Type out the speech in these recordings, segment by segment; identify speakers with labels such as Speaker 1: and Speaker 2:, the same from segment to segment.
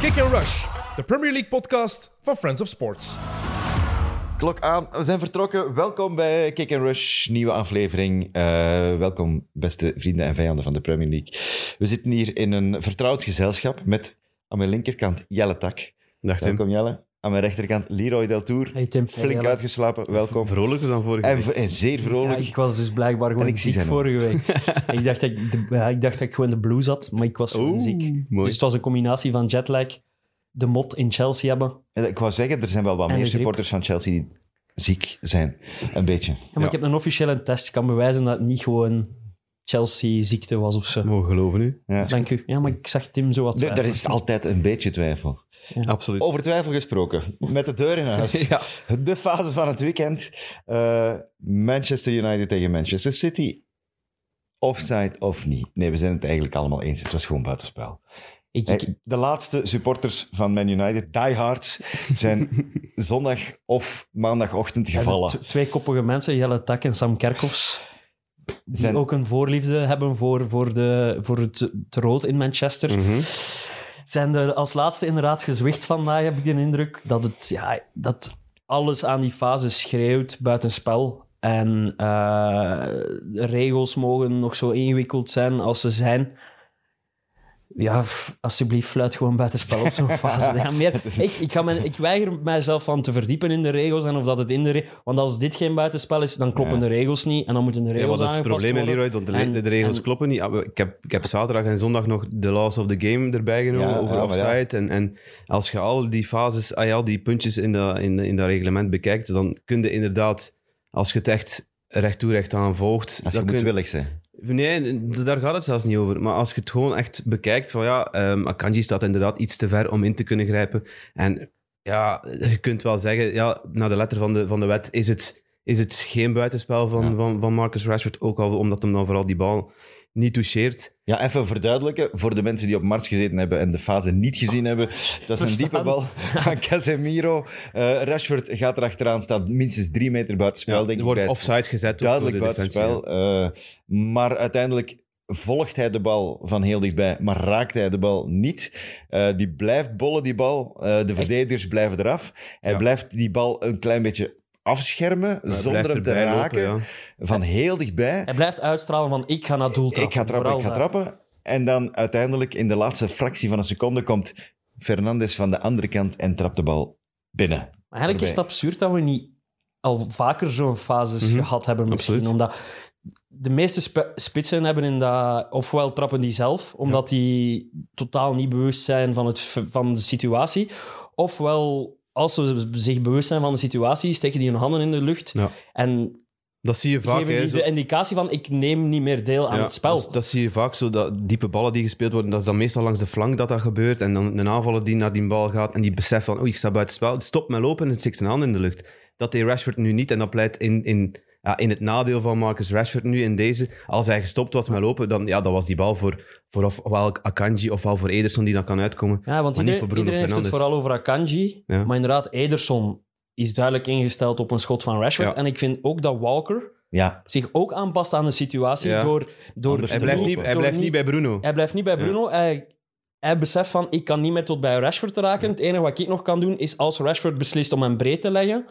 Speaker 1: Kick and Rush, de Premier League podcast van Friends of Sports.
Speaker 2: Klok aan, we zijn vertrokken. Welkom bij Kick and Rush, nieuwe aflevering. Eh, welkom, beste vrienden en vijanden van de Premier League. We zitten hier in een vertrouwd gezelschap met aan mijn linkerkant Jelle Tak.
Speaker 3: Dag Tim.
Speaker 2: Welkom Jelle. Aan mijn rechterkant Leroy Del Tour.
Speaker 4: Hey Tim.
Speaker 2: Flink
Speaker 4: Hey, Jelle.
Speaker 2: uitgeslapen, welkom.
Speaker 3: Vrolijker dan vorige
Speaker 2: En,
Speaker 3: week.
Speaker 2: v- en zeer
Speaker 4: Ja,
Speaker 2: vrolijk.
Speaker 4: ik was dus blijkbaar gewoon
Speaker 2: En ik zie
Speaker 4: ziek
Speaker 2: zijn ook.
Speaker 4: vorige week. ik, dacht dat ik, de- ja, ik dacht dat ik gewoon de blues had, maar ik was gewoon
Speaker 3: Oeh,
Speaker 4: ziek.
Speaker 3: mooi.
Speaker 4: Dus het was een combinatie van jetlag, de mot in Chelsea hebben.
Speaker 2: En ik wou zeggen, er zijn wel wat
Speaker 4: En
Speaker 2: meer
Speaker 4: de griep.
Speaker 2: supporters van Chelsea die ziek zijn. Een beetje.
Speaker 4: Ja, maar ik heb een officiële test. Ik kan bewijzen dat het niet gewoon Chelsea-ziekte was of zo.
Speaker 3: Mogen geloven nu?
Speaker 2: Ja.
Speaker 4: Dank u. Ja, maar ik zag Tim zo wat
Speaker 2: Er er
Speaker 4: twijfelen.
Speaker 2: is altijd een beetje twijfel.
Speaker 3: Absoluut.
Speaker 2: Over twijfel gesproken, met de deur in huis.
Speaker 3: Ja.
Speaker 2: De fase van het weekend. Eh, Manchester United tegen Manchester City. Offside of niet? Nee, we zijn het eigenlijk allemaal eens. Het was gewoon buitenspel.
Speaker 4: Ik,
Speaker 2: Eh,
Speaker 4: ik,
Speaker 2: De laatste supporters van Man United, diehards, zijn zondag of maandagochtend
Speaker 4: Ja,
Speaker 2: gevallen.
Speaker 4: de t- Twee koppige mensen, Jelle Tak en Sam Kerkhoffs, die
Speaker 2: Zijn-
Speaker 4: ook een voorliefde hebben voor, voor, de, voor het, het rood in Manchester. Zijn er als laatste inderdaad gezwicht vandaag, heb ik de indruk, dat, het, ja, dat alles aan die fase schreeuwt buitenspel. En eh, de regels mogen nog zo ingewikkeld zijn als ze zijn. Ja, f- alsjeblieft, fluit gewoon buitenspel op zo'n fase. Ja, meer, echt, ik, ga mijn, ik weiger mijzelf van te verdiepen in de regels en of dat het in de... re- Want als dit geen buitenspel is, dan kloppen
Speaker 2: Ja.
Speaker 4: de regels niet en dan moeten de
Speaker 3: Ja,
Speaker 4: regels
Speaker 3: maar dat is het
Speaker 4: aangepast
Speaker 3: probleem, hè,
Speaker 4: worden.
Speaker 3: Leroy, want de,
Speaker 4: En-
Speaker 3: de regels
Speaker 4: en-
Speaker 3: kloppen niet. Ah, we- Ik heb, ik heb zaterdag en zondag nog de laws of the game erbij genomen
Speaker 2: Ja,
Speaker 3: over
Speaker 2: ja, maar ja.
Speaker 3: offside. En, en als je al die fases, ah, ja, al die puntjes in dat in, in dat reglement bekijkt, dan kun je inderdaad, als je het echt recht toe recht aan volgt...
Speaker 2: Als je
Speaker 3: dan
Speaker 2: moet
Speaker 3: kun-
Speaker 2: willig zijn.
Speaker 3: Nee, d- daar gaat het zelfs niet over. Maar als je het gewoon echt bekijkt, van ja, ehm, Akanji staat inderdaad iets te ver om in te kunnen grijpen. En ja, je kunt wel zeggen, ja, naar de letter van de, van de wet is het, is het geen buitenspel van, van, van Marcus Rashford. Ook al omdat hem dan vooral die bal niet toucheert.
Speaker 2: Ja, even verduidelijken voor de mensen die op Mars gezeten hebben en de fase niet gezien hebben. Dat is een
Speaker 4: Verstaan.
Speaker 2: diepe bal van Casemiro. Eh, Rashford gaat erachteraan, staat minstens drie meter buitenspel, denk
Speaker 3: er
Speaker 2: ik.
Speaker 3: wordt
Speaker 2: bij het-
Speaker 3: offside gezet. ook
Speaker 2: duidelijk
Speaker 3: door de defensie,
Speaker 2: buitenspel. eh, maar uiteindelijk volgt hij de bal van heel dichtbij, maar raakt hij de bal niet. Eh, die blijft bollen, die bal. Eh, de verdedigers blijven eraf. Hij
Speaker 3: Ja.
Speaker 2: blijft die bal een klein beetje afschermen,
Speaker 3: hè. Maar hij
Speaker 2: zonder hem
Speaker 3: blijft
Speaker 2: te
Speaker 3: erbij lopen,
Speaker 2: raken.
Speaker 3: ja.
Speaker 2: Van heel dichtbij.
Speaker 4: Hij blijft uitstralen van ik ga naar doel trappen.
Speaker 2: Ik ga trappen,
Speaker 4: Vooral
Speaker 2: ik ga
Speaker 4: daar.
Speaker 2: trappen. En dan uiteindelijk in de laatste fractie van een seconde komt Fernandes van de andere kant en trapt de bal binnen.
Speaker 4: Maar eigenlijk is het
Speaker 2: Erbij.
Speaker 4: absurd dat we niet al vaker zo'n fases
Speaker 3: Mhm.
Speaker 4: gehad hebben misschien.
Speaker 3: Absoluut.
Speaker 4: Omdat de meeste sp- spitsen hebben in dat... Ofwel trappen die zelf, omdat die totaal niet bewust zijn van, het, f- van de situatie. Ofwel, als ze zich bewust zijn van de situatie, steken die hun handen in de lucht
Speaker 3: Ja.
Speaker 4: en
Speaker 3: Dat zie je vaak.
Speaker 4: geven
Speaker 3: hè,
Speaker 4: die
Speaker 3: zo-
Speaker 4: de indicatie van ik neem niet meer deel aan
Speaker 3: Ja,
Speaker 4: het spel.
Speaker 3: Dat, dat zie je vaak zo, dat diepe ballen die gespeeld worden, dat is dan meestal langs de flank dat dat gebeurt. En dan een aanvaller die naar die bal gaat en die beseft van, oei, ik sta buiten spel. Stop met lopen en het stikt zijn hand in de lucht. Dat deed Rashford nu niet en dat pleit in, in, ja, in het nadeel van Marcus Rashford nu in deze. Als hij gestopt was met lopen, dan ja, dat was die bal voor, voor of- ofwel Akanji ofwel voor Ederson die dan kan uitkomen.
Speaker 4: Ja, want
Speaker 3: Maar niet
Speaker 4: iedereen,
Speaker 3: voor Bruno
Speaker 4: iedereen heeft het
Speaker 3: Fernandes.
Speaker 4: vooral over Akanji.
Speaker 3: Ja.
Speaker 4: Maar inderdaad, Ederson is duidelijk ingesteld op een schot van Rashford.
Speaker 3: Ja.
Speaker 4: En ik vind ook dat Walker
Speaker 2: Ja,
Speaker 4: zich ook aanpast aan de situatie
Speaker 3: Ja.
Speaker 4: door... door
Speaker 2: Anders
Speaker 3: Hij
Speaker 2: te
Speaker 3: blijft
Speaker 2: lopen.
Speaker 3: niet, hij
Speaker 4: door
Speaker 3: blijft niet bij Bruno.
Speaker 4: hij blijft niet bij Bruno. Hij, hij beseft van, ik kan niet meer tot bij Rashford raken. Het enige wat ik nog kan doen, is als Rashford beslist om hem breed te leggen,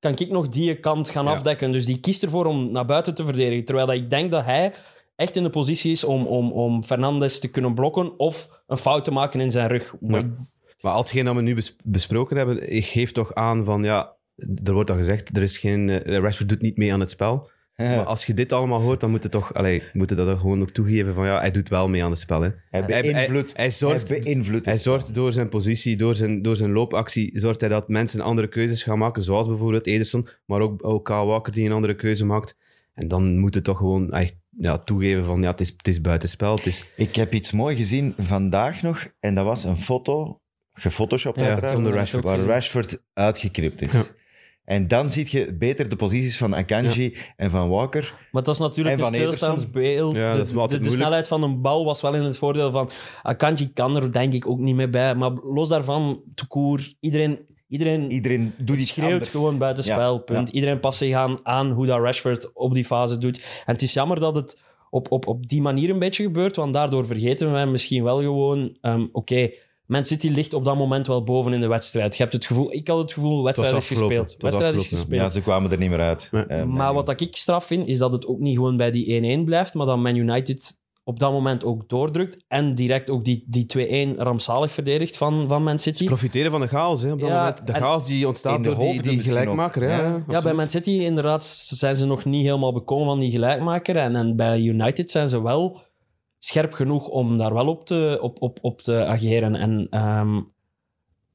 Speaker 4: kan ik nog die kant gaan
Speaker 3: Ja.
Speaker 4: afdekken. Dus die kiest ervoor om naar buiten te verdedigen. Terwijl dat ik denk dat hij echt in de positie is om, om, om Fernandes te kunnen blokken of een fout te maken in zijn rug. Maar
Speaker 3: Ja. Maar al hetgeen dat we nu bes- besproken hebben, ik geef toch aan van ja, er wordt al gezegd, er is geen, eh, Rashford doet niet mee aan het spel. Maar als je dit allemaal hoort, dan moet je toch, allee, moet je dat ook gewoon ook toegeven van ja, hij doet wel mee aan het spel. Hè.
Speaker 2: hij beïnvloedt
Speaker 3: hij zorgt-
Speaker 2: hij beïnvloedt
Speaker 3: Hij
Speaker 2: het
Speaker 3: zorgt door zijn positie, door zijn, door zijn loopactie, zorgt hij dat mensen andere keuzes gaan maken, zoals bijvoorbeeld Ederson, maar ook, ook Kyle Walker die een andere keuze maakt. En dan moet je toch gewoon echt, ja, toegeven van ja, het is, het is buitenspel, het is
Speaker 2: Ik heb iets mooi gezien vandaag nog. En dat was een foto, gefotoshopt
Speaker 3: Ja,
Speaker 2: uiteraard,
Speaker 3: zonder
Speaker 4: dat
Speaker 3: Rashford.
Speaker 4: heb
Speaker 2: waar
Speaker 4: ik ook gezien.
Speaker 2: Rashford uitgeknipt is.
Speaker 3: Ja.
Speaker 2: En dan zie je beter de posities van Akanji en van Walker.
Speaker 4: Maar dat is natuurlijk
Speaker 2: En
Speaker 4: een
Speaker 2: van Ederson.
Speaker 4: stilstaansbeeld.
Speaker 3: Ja,
Speaker 4: de
Speaker 3: dat is wel
Speaker 4: de,
Speaker 3: altijd
Speaker 4: de
Speaker 3: moeilijk.
Speaker 4: snelheid van een bal was wel in het voordeel van Akanji kan er denk ik ook niet mee bij. Maar los daarvan, Toekoer, iedereen, iedereen
Speaker 2: Iedereen doet iets
Speaker 4: schreeuwt
Speaker 2: anders.
Speaker 4: gewoon buiten
Speaker 2: Ja,
Speaker 4: spel. Punt.
Speaker 2: ja.
Speaker 4: Iedereen past zich aan, aan hoe dat Rashford op die fase doet. En het is jammer dat het op, op, op die manier een beetje gebeurt, want daardoor vergeten wij misschien wel gewoon, ehm, oké, Man City ligt op dat moment wel boven in de wedstrijd. Je hebt het gevoel, ik had het gevoel, wedstrijd is
Speaker 3: afgelopen.
Speaker 4: gespeeld.
Speaker 3: Het was
Speaker 4: Wedstrijd is
Speaker 3: afgelopen,
Speaker 4: gespeeld.
Speaker 2: Ja, ze kwamen er niet meer uit.
Speaker 3: Nee.
Speaker 2: Eh,
Speaker 4: Maar wat dat ik straf vind, is dat het ook niet gewoon bij die 1-1 blijft, maar dat Man United op dat moment ook doordrukt en direct ook die, die 2-1 rampzalig verdedigt van, van Man City.
Speaker 3: Profiteren van de chaos, hè, op dat
Speaker 4: Ja,
Speaker 3: moment. De
Speaker 4: en-
Speaker 3: chaos die ontstaat
Speaker 2: In de
Speaker 3: door die,
Speaker 2: hoofden
Speaker 3: die
Speaker 2: misschien ook.
Speaker 3: gelijkmaker. hè,
Speaker 2: Ja.
Speaker 3: hè,
Speaker 2: Ja,
Speaker 4: Ja, bij
Speaker 3: absoluut.
Speaker 4: Man City inderdaad zijn ze nog niet helemaal bekomen van die gelijkmaker. En, en bij United zijn ze wel scherp genoeg om daar wel op te, op, op, op te ageren. En ehm,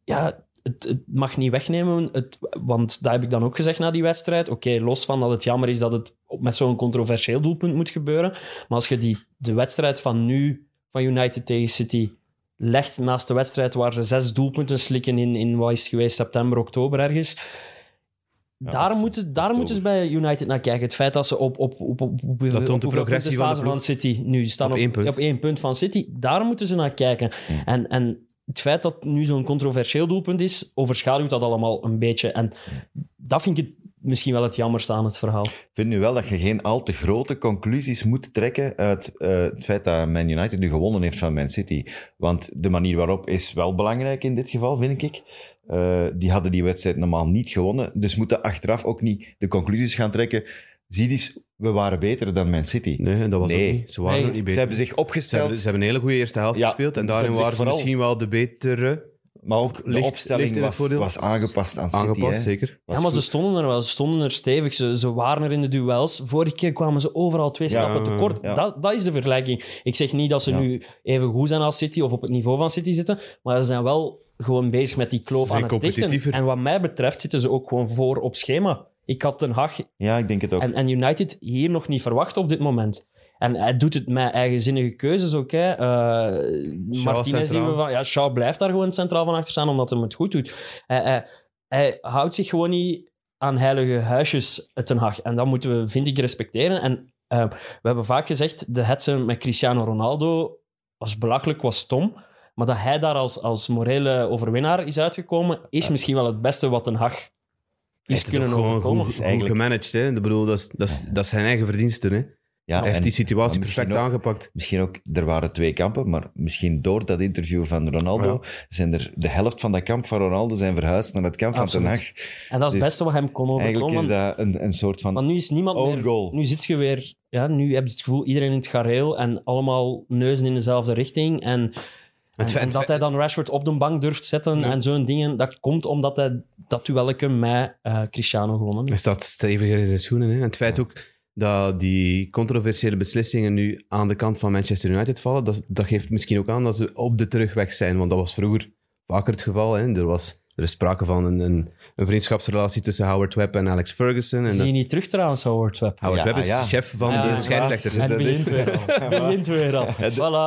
Speaker 4: ja, het, het mag niet wegnemen, het, want dat heb ik dan ook gezegd na die wedstrijd. Oké, los van dat het jammer is dat het op- met zo'n controversieel doelpunt moet gebeuren. Maar als je die, de wedstrijd van nu, van United tegen City, legt naast de wedstrijd waar ze zes doelpunten slikken in, in wat is het geweest, september, oktober ergens. daar
Speaker 2: echt,
Speaker 4: moeten, daar moeten ze bij United naar kijken. Het feit dat ze op, op, op, op, op,
Speaker 3: toont
Speaker 4: op
Speaker 3: de
Speaker 4: hoeveel punten
Speaker 3: progressie van
Speaker 4: staan
Speaker 3: de
Speaker 4: ze
Speaker 3: ploeg.
Speaker 4: van City nu. Ze staan
Speaker 3: Op
Speaker 4: op,
Speaker 3: één punt.
Speaker 4: op één punt van City. Daar moeten ze naar kijken. En, en het feit dat nu zo'n controversieel doelpunt is, overschaduwt dat allemaal een beetje. En dat vind ik het, misschien wel het jammerste aan het verhaal.
Speaker 2: Ik vind nu wel dat je geen al te grote conclusies moet trekken uit eh, het feit dat Man United nu gewonnen heeft van Man City. Want de manier waarop is wel belangrijk in dit geval, vind ik. Eh, die hadden die wedstrijd normaal niet gewonnen. Dus moeten achteraf ook niet de conclusies gaan trekken. Zie eens, we waren beter dan Man City.
Speaker 3: Nee, en dat was
Speaker 2: Nee.
Speaker 3: ook niet. Ze waren
Speaker 4: Nee.
Speaker 3: ook niet
Speaker 2: Ze
Speaker 3: beter.
Speaker 2: hebben zich
Speaker 3: Ze hebben,
Speaker 2: opgesteld,
Speaker 3: ze hebben een hele goede eerste helft
Speaker 2: Ja,
Speaker 3: gespeeld. En
Speaker 2: ze
Speaker 3: daarin
Speaker 2: hebben zich
Speaker 3: waren ze
Speaker 2: vooral-
Speaker 3: misschien wel de betere
Speaker 2: maar ook de
Speaker 3: Ligt- ligt
Speaker 2: opstelling
Speaker 3: in het
Speaker 2: was,
Speaker 3: voordeel.
Speaker 2: was aangepast aan City.
Speaker 3: aangepast,
Speaker 2: hè.
Speaker 3: zeker.
Speaker 2: Was
Speaker 4: ja, maar
Speaker 2: goed.
Speaker 4: ze stonden er wel. Ze stonden er stevig. Ze, ze waren er in de duels. Vorige keer kwamen ze overal twee
Speaker 2: Ja,
Speaker 4: stappen tekort.
Speaker 2: ja.
Speaker 4: Dat, dat is de vergelijking. Ik zeg niet dat ze
Speaker 2: Ja.
Speaker 4: nu even goed zijn als City of op het niveau van City zitten, maar ze zijn wel gewoon bezig met die kloof
Speaker 3: Ze zijn
Speaker 4: aan het dichten.
Speaker 3: competitiever.
Speaker 4: En wat mij betreft zitten ze ook gewoon voor op schema. Ik had Den Haag
Speaker 2: Ja, ik denk het ook.
Speaker 4: en, en United hier nog niet verwacht op dit moment. En hij doet het met eigenzinnige keuzes ook. Hè. Eh, Martinez zien we
Speaker 3: centraal.
Speaker 4: van... Ja, Shaw blijft daar gewoon centraal van achter staan, omdat hij het goed doet. Hij, hij, hij houdt zich gewoon niet aan heilige huisjes, eh, Ten Hag. En dat moeten we, vind ik, respecteren. En eh, we hebben vaak gezegd, de hetsen met Cristiano Ronaldo was belachelijk, was stom. Maar dat hij daar als, als morele overwinnaar is uitgekomen, is misschien wel het beste wat Ten Hag
Speaker 3: Hij
Speaker 4: is
Speaker 3: heeft het
Speaker 4: kunnen
Speaker 3: ook gewoon
Speaker 4: overkomen.
Speaker 3: Goed, goed
Speaker 2: eigenlijk-
Speaker 3: gemanaged, hè. Ik bedoel, dat is, dat, is, dat is zijn eigen verdiensten, hè.
Speaker 2: ja,
Speaker 3: Hij heeft
Speaker 2: en-
Speaker 3: die situatie
Speaker 2: maar misschien
Speaker 3: perfect
Speaker 2: ook-
Speaker 3: aangepakt.
Speaker 2: Misschien ook, er waren twee kampen, maar misschien door dat interview van Ronaldo zijn er de helft van dat kamp van Ronaldo zijn verhuisd naar het kamp
Speaker 4: Absoluut.
Speaker 2: van Ten Hag.
Speaker 4: En dat is het
Speaker 2: Dus
Speaker 4: beste wat hem kon
Speaker 2: Eigenlijk
Speaker 4: overkomen.
Speaker 2: is dat een, een soort van...
Speaker 4: Want nu is niemand
Speaker 2: Own
Speaker 4: meer...
Speaker 2: goal.
Speaker 4: Nu zit je weer... Ja, nu heb je het gevoel, iedereen in het gareel en allemaal neuzen in dezelfde richting. En, en,
Speaker 3: feit-
Speaker 4: en dat hij dan Rashford op de bank durft zetten
Speaker 3: Ja.
Speaker 4: en zo'n dingen, dat komt omdat hij dat duelletje met eh, Cristiano gewonnen
Speaker 3: Hij
Speaker 4: heeft.
Speaker 3: staat steviger in zijn schoenen, hè. En het feit ook dat die controversiële beslissingen nu aan de kant van Manchester United vallen, dat, dat geeft misschien ook aan dat ze op de terugweg zijn. Want dat was vroeger vaker het geval, hè. Er, was, er is sprake van een, een, een vriendschapsrelatie tussen Howard Webb en Alex Ferguson. En
Speaker 4: Zie
Speaker 3: dat-
Speaker 4: je niet terug trouwens, Howard Webb.
Speaker 3: Howard
Speaker 2: Ja,
Speaker 3: Webb is
Speaker 2: ja.
Speaker 3: chef van
Speaker 4: Ja, ja,
Speaker 3: de
Speaker 4: ja.
Speaker 3: scheidsrechters. hè.
Speaker 4: Het
Speaker 2: Dus dat
Speaker 4: begint
Speaker 2: is-
Speaker 4: weer al. Het begint weer al.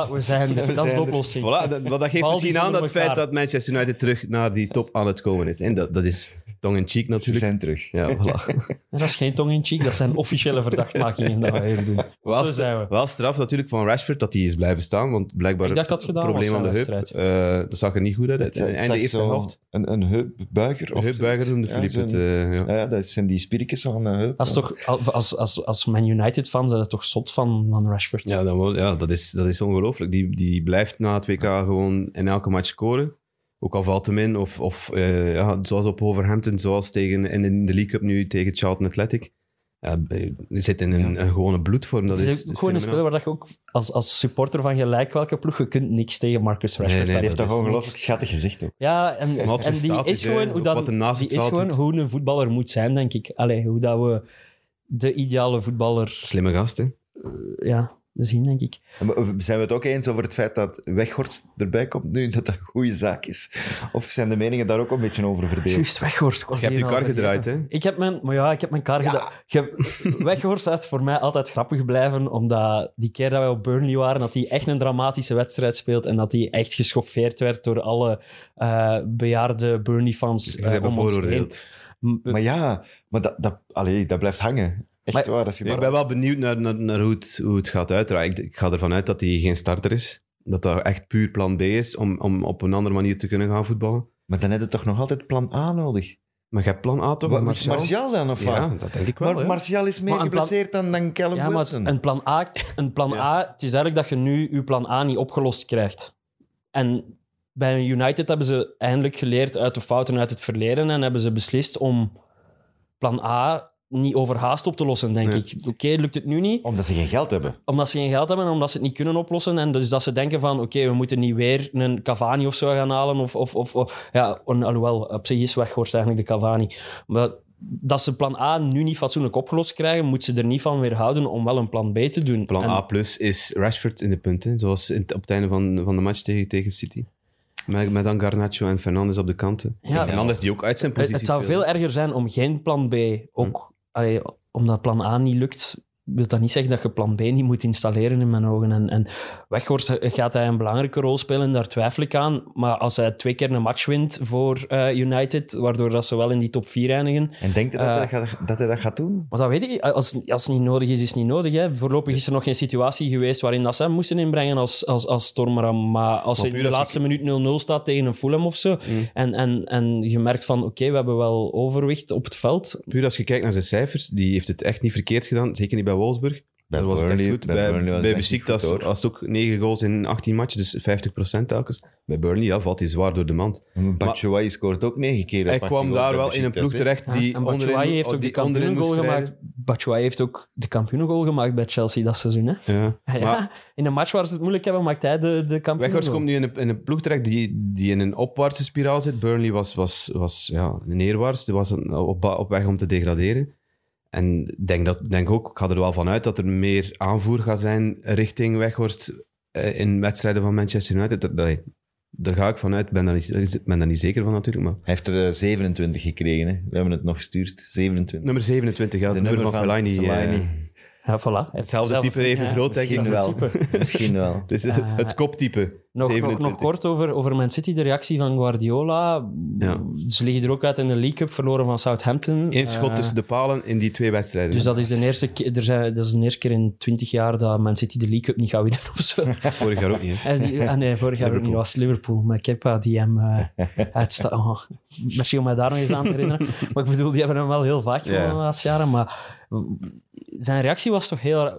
Speaker 4: Voilà, we zijn
Speaker 2: We
Speaker 4: er. dat is
Speaker 2: zijn
Speaker 4: de
Speaker 2: er.
Speaker 4: oplossing.
Speaker 3: Voilà, dat, maar dat geeft
Speaker 4: Bal
Speaker 3: misschien
Speaker 4: die
Speaker 3: aan dat
Speaker 4: zonder
Speaker 3: feit
Speaker 4: elkaar.
Speaker 3: dat Manchester United terug naar die top aan het komen is. En dat, dat is tong in cheek
Speaker 2: Ze
Speaker 3: natuurlijk.
Speaker 2: zijn terug.
Speaker 3: Ja, voilà.
Speaker 4: En dat is geen tong in cheek, dat zijn officiële verdachtmakingen. Dat we hier doen.
Speaker 3: Wel,
Speaker 4: Zo zijn we.
Speaker 3: stra- wel straf natuurlijk van Rashford dat hij is blijven staan, want blijkbaar
Speaker 4: Ik dacht dat het gedaan
Speaker 3: probleem
Speaker 4: was
Speaker 3: aan
Speaker 4: na
Speaker 3: de heup. Eh, dat zag er niet goed uit.
Speaker 2: Het- het
Speaker 3: en
Speaker 2: zag
Speaker 3: de eerste
Speaker 2: zo
Speaker 3: helft.
Speaker 2: Een, een heupbuiger. of
Speaker 3: Heupbuiger
Speaker 2: zoiets.
Speaker 3: noemde
Speaker 2: Ja,
Speaker 3: Philippe het.
Speaker 2: zo'n-
Speaker 3: eh, ja.
Speaker 2: ja, dat zijn die spierkes van een heup.
Speaker 4: Dat is toch, als, als, als Man United-fan zijn ze toch zot van, van Rashford.
Speaker 3: Ja, dan, wel- ja, dat is, dat is ongelooflijk. Die, die blijft na het WK gewoon in elke match scoren. Ook al valt hem in, of, of eh, ja, zoals op Overhampton, zoals tegen, en in de League Cup nu tegen Charlton Athletic. Ja, hij zit in een, een gewone bloedvorm. Dat
Speaker 4: Het is,
Speaker 3: is,
Speaker 4: Dus ook gewoon een
Speaker 3: fenomenaal.
Speaker 4: speler waar dat je ook als, als supporter van gelijk welke ploeg, je kunt niks tegen Marcus Rashford.
Speaker 3: nee,
Speaker 2: Hij heeft
Speaker 3: dat
Speaker 2: dat
Speaker 3: is
Speaker 2: ongelooflijk schattig gezicht ook.
Speaker 4: Ja, en,
Speaker 3: Maar op zijn
Speaker 4: en die
Speaker 3: status,
Speaker 4: is
Speaker 3: hè,
Speaker 4: gewoon, hoe,
Speaker 3: op
Speaker 4: dat,
Speaker 3: wat er naast
Speaker 4: die
Speaker 3: het
Speaker 4: is
Speaker 3: veld
Speaker 4: gewoon
Speaker 3: doet.
Speaker 4: hoe een voetballer moet zijn, denk ik. Allee, hoe dat we de ideale voetballer
Speaker 3: Slimme gast, hè?
Speaker 4: ja, zien, denk ik.
Speaker 2: En we- Zijn we het ook eens over het feit dat Weghorst erbij komt nu, dat dat een goede zaak is? Of zijn de meningen daar ook een beetje over verdeeld?
Speaker 4: Juist, Weghorst. ik was
Speaker 3: Je hebt je
Speaker 4: die al
Speaker 3: kar
Speaker 4: vergeten.
Speaker 3: gedraaid, hè?
Speaker 4: Ik heb mijn, maar ja, ik heb mijn kaart gedaan. Je- Weghorst is voor mij altijd grappig blijven, omdat die keer dat wij op Burnley waren, dat hij echt een dramatische wedstrijd speelt en dat hij echt geschoffeerd werd door alle eh, bejaarde Burnley-fans
Speaker 3: Ze
Speaker 4: eh,
Speaker 3: hebben
Speaker 4: om ons heen.
Speaker 3: vooroordeeld.
Speaker 4: M-
Speaker 2: Maar ja, maar dat, dat, allee, dat blijft hangen. Echt
Speaker 4: Maar-
Speaker 2: waar. Als je
Speaker 3: Nee, ik
Speaker 2: maar-
Speaker 3: ben wel benieuwd naar, naar, naar hoe, het, hoe het gaat uitdraaien. Ik, ik ga ervan uit dat hij geen starter is. Dat dat echt puur plan B is om, om op een andere manier te kunnen gaan voetballen.
Speaker 2: Maar dan heb je toch nog altijd plan A nodig?
Speaker 3: Maar je hebt plan A toch?
Speaker 2: Wat, is
Speaker 3: Martial?
Speaker 2: Martial dan of
Speaker 3: Ja,
Speaker 2: wat?
Speaker 3: dat denk ik wel.
Speaker 2: Maar
Speaker 3: hè.
Speaker 2: Martial is meer
Speaker 4: Maar een plan-
Speaker 2: geblesseerd dan, dan Callum
Speaker 4: Ja, maar
Speaker 2: Wilson.
Speaker 4: een plan, A, een plan
Speaker 3: Ja.
Speaker 4: A, het is eigenlijk dat je nu je plan A niet opgelost krijgt. En bij United hebben ze eindelijk geleerd uit de fouten uit het verleden en hebben ze beslist om plan A niet overhaast op te lossen, denk
Speaker 3: Nee.
Speaker 4: ik. Oké, lukt het nu niet,
Speaker 2: Omdat ze geen geld hebben.
Speaker 4: omdat ze geen geld hebben en omdat ze het niet kunnen oplossen. En dus dat ze denken van, oké, we moeten niet weer een Cavani of zo gaan halen. Of, of, of, of- ja, een, alhoewel, op zich is weghorst eigenlijk de Cavani. Maar dat ze plan A nu niet fatsoenlijk opgelost krijgen, moet ze er niet van weerhouden om wel een plan B te doen.
Speaker 3: Plan
Speaker 4: En-
Speaker 3: A plus is Rashford in de punten, zoals in het- op het einde van, van de match tegen, tegen City. Met, met dan Garnacho en Fernandes op de kanten.
Speaker 4: Ja.
Speaker 3: Fernandes die ook uit zijn
Speaker 4: Het,
Speaker 3: positie
Speaker 4: Eh,
Speaker 3: Hm.
Speaker 4: het zou
Speaker 3: speelde.
Speaker 4: veel erger zijn om geen plan B ook... allee, omdat plan A niet lukt, wil dat niet zeggen dat je plan B niet moet installeren in mijn ogen. En, en Weghorst eh, gaat hij een belangrijke rol spelen, daar twijfel ik aan. Maar als hij twee keer een match wint voor eh, United, waardoor dat ze wel in die top 4 eindigen...
Speaker 2: En denkt je dat,
Speaker 4: Eh.
Speaker 2: hij, dat gaat- dat hij dat gaat doen?
Speaker 4: Maar dat weet ik niet. Als, als het niet nodig is, is het niet nodig. Hè. Voorlopig is er nog geen situatie geweest waarin dat ze hem moesten inbrengen als, als, als Stormeram. Maar als
Speaker 3: Maar
Speaker 4: er in
Speaker 3: puur als
Speaker 4: de laatste minuut 0-0 staat tegen een Fulham of zo...
Speaker 3: Mm.
Speaker 4: En, en, en je merkt van, oké, we hebben wel overwicht op het veld.
Speaker 3: Puur als je kijkt naar zijn cijfers, die heeft het echt niet verkeerd gedaan. Zeker niet bij Wolfsburg.
Speaker 2: Bij
Speaker 3: Daar was het
Speaker 2: Burnley-
Speaker 3: echt goed.
Speaker 2: bij
Speaker 3: Bij,
Speaker 2: Burnley was
Speaker 3: bij,
Speaker 2: het echt niet
Speaker 3: Besiktas
Speaker 2: goed, hoor.
Speaker 3: was het ook 9 goals in 18 matchen, dus 50% telkens. Bij Burnley ja, valt hij zwaar door de mand.
Speaker 2: Batshuayi scoort ook negen keer. op
Speaker 3: Hij
Speaker 2: 18
Speaker 3: kwam
Speaker 2: goals
Speaker 3: daar
Speaker 2: bij
Speaker 3: wel in een ploeg
Speaker 2: Beşiktaş, hè.
Speaker 3: terecht die
Speaker 4: en
Speaker 3: onderin,
Speaker 4: Batshuayi heeft ook de
Speaker 3: die onderin
Speaker 4: kampioenengoal
Speaker 3: moest
Speaker 4: gemaakt. Batshuayi heeft ook de kampioenengoal gemaakt bij Chelsea dat seizoen. Hè?
Speaker 3: strijden. Ja.
Speaker 4: Ja,
Speaker 3: Maar
Speaker 4: in een match waar ze het moeilijk hebben, maakt hij de, de
Speaker 3: Weghorst komt
Speaker 4: kampioenengoal.
Speaker 3: nu in een, in een ploeg terecht die, die in een opwaartse spiraal zit. Burnley was, was, was ja, neerwaarts, die was een- op, ba- op weg om te degraderen. En ik denk, dat, denk ook, ik ga er wel van uit dat er meer aanvoer gaat zijn richting Weghorst eh, in wedstrijden van Manchester United. Dat- dat- daar ga ik vanuit, ben daar niet, ben daar niet zeker van natuurlijk. Maar.
Speaker 2: Hij heeft er eh, 27 gekregen. Hè. We hebben het nog gestuurd. 27.
Speaker 3: Nummer 27, ja, de nummer van, Fellaini. eh,
Speaker 4: Ja, voilà.
Speaker 3: hetzelfde type, even groot, denk ik.
Speaker 2: Misschien wel. Misschien wel.
Speaker 3: Het, is
Speaker 4: Eh,
Speaker 3: het koptype.
Speaker 4: Nog, nog,
Speaker 3: 27.
Speaker 4: nog kort over, over Man City, de reactie van Guardiola.
Speaker 3: Ja.
Speaker 4: Ze liggen er ook uit in de League Cup, verloren van Southampton.
Speaker 3: Eén schot
Speaker 4: Eh,
Speaker 3: tussen de palen in die twee wedstrijden.
Speaker 4: Dus dat is, de eerste, ke- er zijn, dat is de eerste keer in 20 jaar dat Man City de League Cup niet gaat winnen of zo.
Speaker 3: Vorig jaar ook niet. hè.
Speaker 4: Hij is die- ah nee, vorig jaar ook niet, was Liverpool. Maar Kepa, die hem eh uitstaat. Oh, misschien om mij daar nog eens aan te herinneren. Maar ik bedoel, die hebben hem wel heel vaak gewonnen
Speaker 3: Ja.
Speaker 4: de laatste jaren. Maar zijn reactie was toch heel... raar.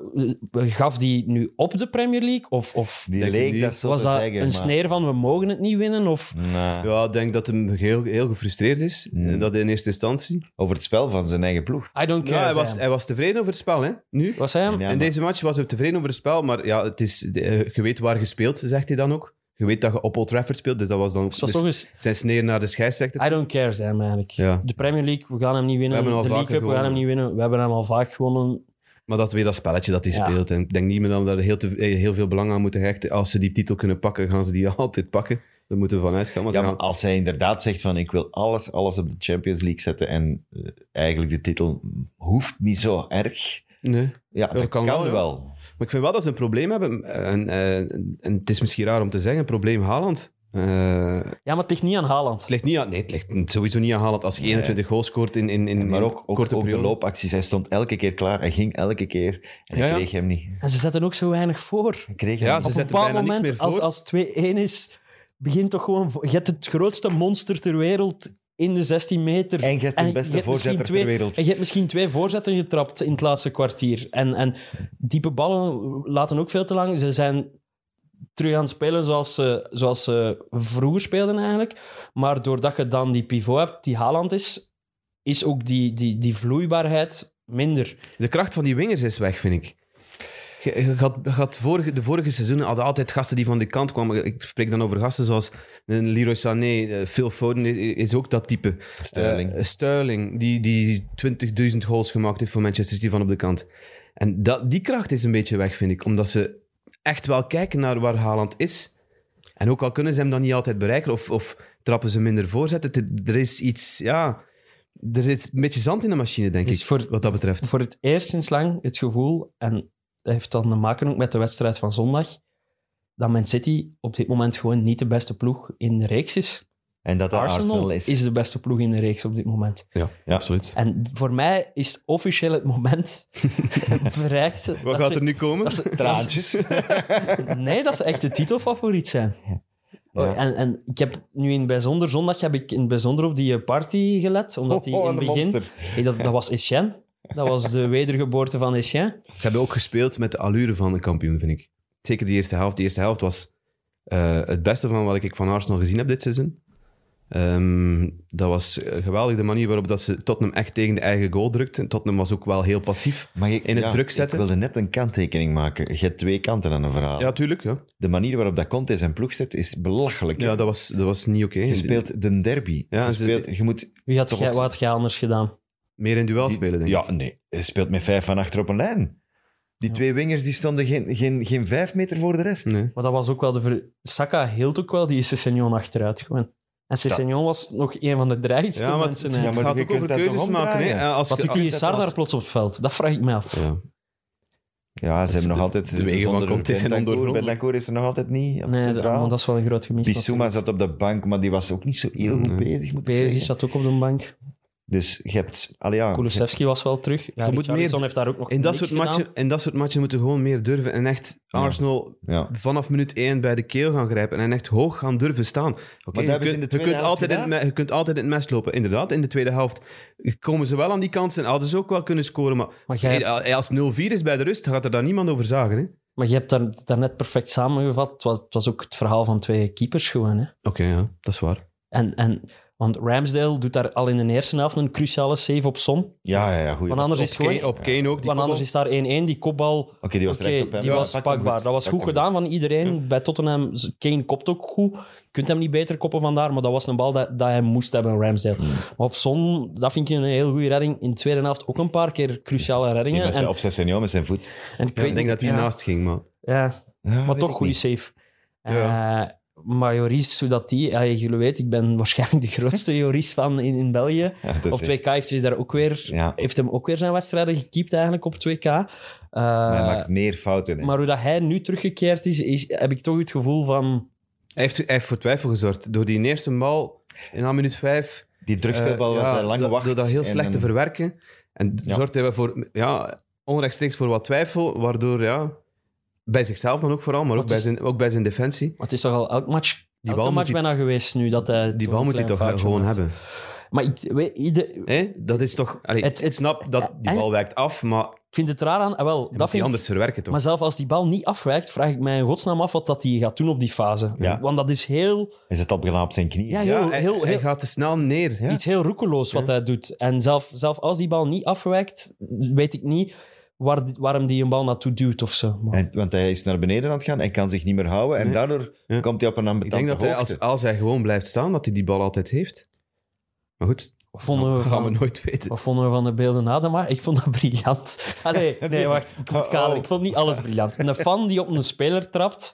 Speaker 4: Gaf die nu op de Premier League? Of, of
Speaker 2: Die
Speaker 3: Denk ik
Speaker 2: leek
Speaker 3: niet.
Speaker 2: dat zo
Speaker 4: was
Speaker 2: te
Speaker 4: dat
Speaker 2: zeggen.
Speaker 4: een
Speaker 2: maar-
Speaker 4: sneer van we mogen het niet winnen? Of,
Speaker 2: Nou,
Speaker 3: Ja, ik denk dat hem heel, heel gefrustreerd is.
Speaker 2: Mm.
Speaker 3: Eh, Dat in eerste instantie.
Speaker 2: Over het spel van zijn eigen ploeg.
Speaker 4: I don't care,
Speaker 3: Ja, hij,
Speaker 4: zei
Speaker 3: was,
Speaker 4: hem.
Speaker 3: hij was tevreden over het spel, hè? Nu.
Speaker 4: was hij hem?
Speaker 2: Ja,
Speaker 3: in
Speaker 2: maar-
Speaker 3: deze match was hij tevreden over het spel, maar ja, het is, eh, je weet waar je speelt, zegt hij dan ook. Je weet dat je op Old Trafford speelt, dus dat was dan ook
Speaker 4: Dus het was
Speaker 3: dus
Speaker 4: toch eens...
Speaker 3: zijn sneer naar de scheidsrechter.
Speaker 4: I don't care, zei hem eigenlijk.
Speaker 3: Ja.
Speaker 4: De Premier League, we gaan hem niet winnen.
Speaker 3: We hebben hem al
Speaker 4: de League
Speaker 3: vaker
Speaker 4: Cup, we gaan hem
Speaker 3: gewonnen.
Speaker 4: niet winnen. We hebben hem al vaak gewonnen.
Speaker 3: Maar dat is weer dat spelletje dat hij
Speaker 4: Ja.
Speaker 3: speelt. En ik denk niet meer dat we daar heel, te- eh, heel veel belang aan moeten hechten. Als ze die titel kunnen pakken, gaan ze die altijd pakken. Daar moeten we vanuit gaan. Maar ze
Speaker 2: Ja, maar
Speaker 3: gaan-
Speaker 2: als hij inderdaad zegt van ik wil alles, alles op de Champions League zetten en eh, eigenlijk de titel hoeft niet zo erg.
Speaker 3: nee.
Speaker 2: Ja, dat,
Speaker 3: dat
Speaker 2: kan,
Speaker 3: kan wel, ja.
Speaker 2: wel.
Speaker 3: Maar ik vind wel dat ze een probleem hebben. En, eh, en het is misschien raar om te zeggen, probleem Haaland. Eh,
Speaker 4: Ja, maar het ligt niet aan Haaland.
Speaker 3: Het ligt niet aan, nee, het ligt sowieso niet aan Haaland als je 21 goals scoort in, in, in
Speaker 2: Maar
Speaker 3: in
Speaker 2: ook, ook,
Speaker 3: korte
Speaker 2: ook de
Speaker 3: periode.
Speaker 2: loopacties. Hij stond elke keer klaar. Hij ging elke keer. En
Speaker 3: Ja,
Speaker 2: hij
Speaker 3: ja.
Speaker 2: kreeg hem niet.
Speaker 4: En ze zetten ook zo weinig voor.
Speaker 2: Hij kreeg
Speaker 3: Ja,
Speaker 2: hem niet.
Speaker 3: ze
Speaker 4: Op een
Speaker 3: zetten
Speaker 4: bepaald
Speaker 3: bijna niks
Speaker 4: moment,
Speaker 3: meer voor.
Speaker 4: als, als 2-1 is, begint toch gewoon... vo- Je hebt het grootste monster ter wereld in de 16 meter.
Speaker 2: En je hebt de beste
Speaker 4: misschien
Speaker 2: voorzetter ter
Speaker 4: twee,
Speaker 2: wereld.
Speaker 4: En je hebt misschien twee voorzetten getrapt in het laatste kwartier. En, en diepe ballen laten ook veel te lang. Ze zijn terug aan het spelen zoals ze, zoals ze vroeger speelden eigenlijk. Maar doordat je dan die pivot hebt, die Haaland is, is ook die, die, die vloeibaarheid minder.
Speaker 3: De kracht van die wingers is weg, vind ik. Je, je had, je had vorige, de vorige seizoenen hadden altijd gasten die van de kant kwamen. Ik spreek dan over gasten zoals een Leroy Sané, eh, Phil Foden is, is ook dat type.
Speaker 2: Sterling.
Speaker 3: Eh, Sterling, die, die 20.000 goals gemaakt heeft voor Manchester City van op de kant. En dat, die kracht is een beetje weg, vind ik. Omdat ze echt wel kijken naar waar Haaland is. En ook al kunnen ze hem dan niet altijd bereiken of, of trappen ze minder voorzetten. het- Er is iets, ja... Er zit een beetje zand in de machine, denk
Speaker 4: Het is
Speaker 3: ik,
Speaker 4: voor-
Speaker 3: wat dat betreft.
Speaker 4: voor het eerst sinds lang het gevoel, en dat heeft dan te maken ook met de wedstrijd van zondag, dat Man City op dit moment gewoon niet de beste ploeg in de reeks is.
Speaker 2: En dat dat Arsenal, is.
Speaker 4: de beste ploeg in de reeks op dit moment.
Speaker 3: Ja,
Speaker 2: Ja.
Speaker 3: absoluut.
Speaker 4: En voor mij is officieel het moment bereikt.
Speaker 3: Wat
Speaker 4: dat
Speaker 3: gaat
Speaker 4: ze-
Speaker 3: er nu komen?
Speaker 4: dat ze-
Speaker 2: Traantjes.
Speaker 4: Nee, dat ze echt de titelfavoriet zijn. Oh,
Speaker 2: Ja.
Speaker 4: En, en ik heb nu in het bijzonder, zondag heb ik in het bijzonder op die eh, party gelet. Omdat die
Speaker 2: Oh,
Speaker 4: in
Speaker 2: een
Speaker 4: het begin...
Speaker 2: monster.
Speaker 4: Hey, dat, dat was Etienne. Dat was de wedergeboorte van Etienne.
Speaker 3: Ze hebben ook gespeeld met de allure van een kampioen, vind ik. Zeker de eerste helft. De eerste helft was eh, het beste van wat ik van Arsenal gezien heb dit seizoen. Ehm, dat was eh, geweldig de manier waarop dat ze Tottenham echt tegen de eigen goal drukt. En Tottenham was ook wel heel passief
Speaker 2: Maar je-
Speaker 3: in het
Speaker 2: ja,
Speaker 3: druk zetten.
Speaker 2: Ik wilde net een kanttekening maken. Je hebt twee kanten aan een verhaal.
Speaker 3: Ja, tuurlijk. Ja,
Speaker 2: De manier waarop dat Conte zijn ploeg zet, is belachelijk.
Speaker 3: ja dat, was, dat was niet oké.
Speaker 2: Je speelt de derby.
Speaker 3: Ja,
Speaker 2: je,
Speaker 3: ze-
Speaker 2: speelt, je moet...
Speaker 4: Wie had
Speaker 2: Toch
Speaker 4: jij,
Speaker 2: op-
Speaker 4: wat had jij anders gedaan?
Speaker 3: Meer in duel
Speaker 2: die-
Speaker 3: spelen, denk ik.
Speaker 2: Ja, nee. Je speelt met vijf van achter op een lijn. Die twee wingers die stonden geen, geen, geen vijf meter voor de rest.
Speaker 3: Nee.
Speaker 4: Maar dat was ook wel de... Ver... Saka hield ook wel die Sessegnon achteruit gewoon. En Sessegnon was nog een van de dreigste
Speaker 3: Ja, maar het,
Speaker 4: mensen.
Speaker 3: het
Speaker 4: hè.
Speaker 2: Ja, maar
Speaker 3: gaat
Speaker 2: je
Speaker 3: ook
Speaker 2: kunt
Speaker 3: over
Speaker 2: dat toch
Speaker 3: keuzes maken. Hè?
Speaker 2: omdraaien?
Speaker 3: Eh, Als
Speaker 4: Wat
Speaker 3: je-
Speaker 4: doet die
Speaker 3: Arteta
Speaker 4: Sar daar
Speaker 3: was-
Speaker 4: plots op het veld? Dat vraag ik me af.
Speaker 3: Ja.
Speaker 2: Ja, ze hebben nog
Speaker 3: de-
Speaker 2: altijd...
Speaker 3: de wegen van
Speaker 2: zonder
Speaker 3: Conte zijn
Speaker 2: Bentancur.
Speaker 3: ondoorgrondelijk.
Speaker 2: Bentancur is er nog altijd niet op het
Speaker 4: Nee, dat,
Speaker 2: centraal.
Speaker 4: maar dat is wel een groot gemis.
Speaker 2: Bissouma zat op de bank, maar die was ook niet zo heel goed
Speaker 3: Nee.
Speaker 2: bezig, moet ik
Speaker 4: Bezig
Speaker 2: zeggen.
Speaker 4: zat ook op de bank.
Speaker 2: Dus je hebt... Allee, ja, je
Speaker 4: Kulusevski was wel terug. Ja,
Speaker 3: Je moet
Speaker 4: Richarlison
Speaker 3: meer-
Speaker 4: heeft daar ook nog
Speaker 3: In dat,
Speaker 4: niks
Speaker 3: soort matchen,
Speaker 4: gedaan.
Speaker 3: in dat soort matchen moeten we gewoon meer durven. En echt
Speaker 2: Ja.
Speaker 3: Arsenal
Speaker 2: Ja.
Speaker 3: vanaf minuut 1 bij de keel gaan grijpen. En echt hoog gaan durven staan. Oké,
Speaker 2: dat
Speaker 3: je,
Speaker 2: hebben ze in de
Speaker 3: kunt, je,
Speaker 2: tweede
Speaker 3: kunt
Speaker 2: helft
Speaker 3: altijd in, het
Speaker 2: gedaan.
Speaker 3: me- je kunt altijd in het mes lopen. Inderdaad, in de tweede helft komen ze wel aan die kansen. Hadden ze ook wel kunnen scoren. Maar,
Speaker 4: Maar jij-
Speaker 3: Hey, als 0-4 is bij de rust, gaat er daar niemand over zagen. Hè? Oké,
Speaker 4: Maar je hebt daar, daarnet perfect samengevat. Het was, het was ook het verhaal van twee keepers gewoon. Hè.
Speaker 3: ja, dat is waar.
Speaker 4: En, en, want Ramsdale doet daar al in de eerste helft een cruciale save op Son.
Speaker 2: Ja, ja, ja, goed.
Speaker 4: Want
Speaker 2: Oké,
Speaker 4: anders
Speaker 3: Op
Speaker 4: is, het gewoon,
Speaker 3: Kane, op Kane ook. Die
Speaker 4: want anders is daar 1-1. Die kopbal
Speaker 2: die was
Speaker 4: Oké,
Speaker 2: recht op hem.
Speaker 4: die
Speaker 2: Ja,
Speaker 4: was
Speaker 2: pak hem
Speaker 4: pakbaar.
Speaker 2: goed.
Speaker 4: Dat was
Speaker 2: Pak
Speaker 4: goed
Speaker 2: hem
Speaker 4: gedaan van iedereen. Bij Tottenham, z- Kane kopt ook goed. Je kunt hem niet beter koppen vandaar, maar dat was een bal dat, dat hij moest hebben, Ramsdale.
Speaker 2: Hmm.
Speaker 4: Maar op Son, dat vind ik een heel goede redding. In de tweede helft ook een paar keer cruciale
Speaker 2: Die
Speaker 4: reddingen.
Speaker 2: met
Speaker 4: En,
Speaker 2: zijn obsessioneel met zijn voet.
Speaker 4: en ik
Speaker 3: Ja,
Speaker 4: weet
Speaker 3: ik denk dat hij
Speaker 4: ja,
Speaker 3: naast ging, maar...
Speaker 4: Ja,
Speaker 2: Ja,
Speaker 4: maar
Speaker 2: weet
Speaker 4: toch
Speaker 2: ik
Speaker 4: goede
Speaker 2: niet.
Speaker 4: save.
Speaker 3: Ja.
Speaker 4: Eh, maar Joris, hoe dat die... allee, jullie weten, ik ben waarschijnlijk de grootste Joris van in, in België.
Speaker 2: Ja, dat is
Speaker 4: Op
Speaker 2: echt-
Speaker 4: 2K heeft hij daar ook weer...
Speaker 2: Ja.
Speaker 4: Heeft hem ook weer zijn wedstrijden gekiept eigenlijk op 2K. Eh,
Speaker 2: Maar hij maakt meer fouten. hè.
Speaker 4: Maar hoe dat hij nu teruggekeerd is, is heb ik toch het gevoel van...
Speaker 3: Hij heeft, hij heeft voor twijfel gezorgd. Door die eerste bal in aan minuut 5...
Speaker 2: die drugspeelbal
Speaker 3: Eh,
Speaker 2: wat
Speaker 3: ja,
Speaker 2: hij lang
Speaker 3: dat-
Speaker 2: wacht.
Speaker 3: Door dat heel
Speaker 2: en
Speaker 3: slecht te
Speaker 2: dan-
Speaker 3: verwerken. En d-
Speaker 2: Ja.
Speaker 3: zorgt hij wel voor, ja, onrechtstreeks voor wat twijfel, waardoor, ja, bij zichzelf dan ook vooral, maar ook,
Speaker 4: Wat
Speaker 3: bij,
Speaker 4: is-
Speaker 3: zijn, ook bij zijn defensie.
Speaker 4: Maar het is toch al elk match... Die
Speaker 3: bal
Speaker 4: elke
Speaker 3: moet
Speaker 4: match
Speaker 3: hij-
Speaker 4: bijna geweest nu dat hij...
Speaker 3: Die bal
Speaker 4: een
Speaker 3: moet hij toch
Speaker 4: klein
Speaker 3: eh,
Speaker 4: foutje
Speaker 3: gewoon
Speaker 4: maakt.
Speaker 3: hebben.
Speaker 4: Maar ik, weet, ieder-
Speaker 3: Hè? Dat is toch... allee,
Speaker 4: Het-
Speaker 3: ik
Speaker 4: het-
Speaker 3: snap dat die
Speaker 4: eh,
Speaker 3: bal wijkt af, maar je
Speaker 4: ik vind het raar aan... ah, wel,
Speaker 3: moet
Speaker 4: dat
Speaker 3: die
Speaker 4: vind ik,
Speaker 3: anders verwerken toch?
Speaker 4: maar zelf als die bal niet afwijkt, vraag ik mij in godsnaam af wat dat hij gaat doen op die fase.
Speaker 2: Ja.
Speaker 4: Want dat is heel,
Speaker 2: Hij zit al bijna op zijn knieën.
Speaker 4: ja,
Speaker 2: Ja,
Speaker 4: heel,
Speaker 3: ja, hij,
Speaker 4: heel,
Speaker 3: hij
Speaker 4: heel,
Speaker 3: gaat te snel neer.
Speaker 2: Ja.
Speaker 4: iets heel roekeloos wat hij doet. En zelf, zelf als die bal niet afwijkt, weet ik niet waar, die- waarom die een bal naartoe duwt of zo. Maar-
Speaker 2: En, want hij is naar beneden aan het gaan en kan zich niet meer houden. En
Speaker 3: Nee.
Speaker 2: daardoor
Speaker 3: Ja.
Speaker 2: komt hij op een
Speaker 3: Ik
Speaker 2: ambetante
Speaker 3: denk dat hij,
Speaker 2: hoogte.
Speaker 3: als, als hij gewoon blijft staan, dat hij die bal altijd heeft. Maar goed,
Speaker 4: Wat vonden
Speaker 3: dat
Speaker 4: we
Speaker 3: gaan we
Speaker 4: van,
Speaker 3: nooit weten.
Speaker 4: Wat vonden we van de beelden na de maar? Ik vond dat briljant. Allee, nee, wacht. Ik moet het kaderen. Ik vond niet alles briljant. Een fan die op een speler trapt,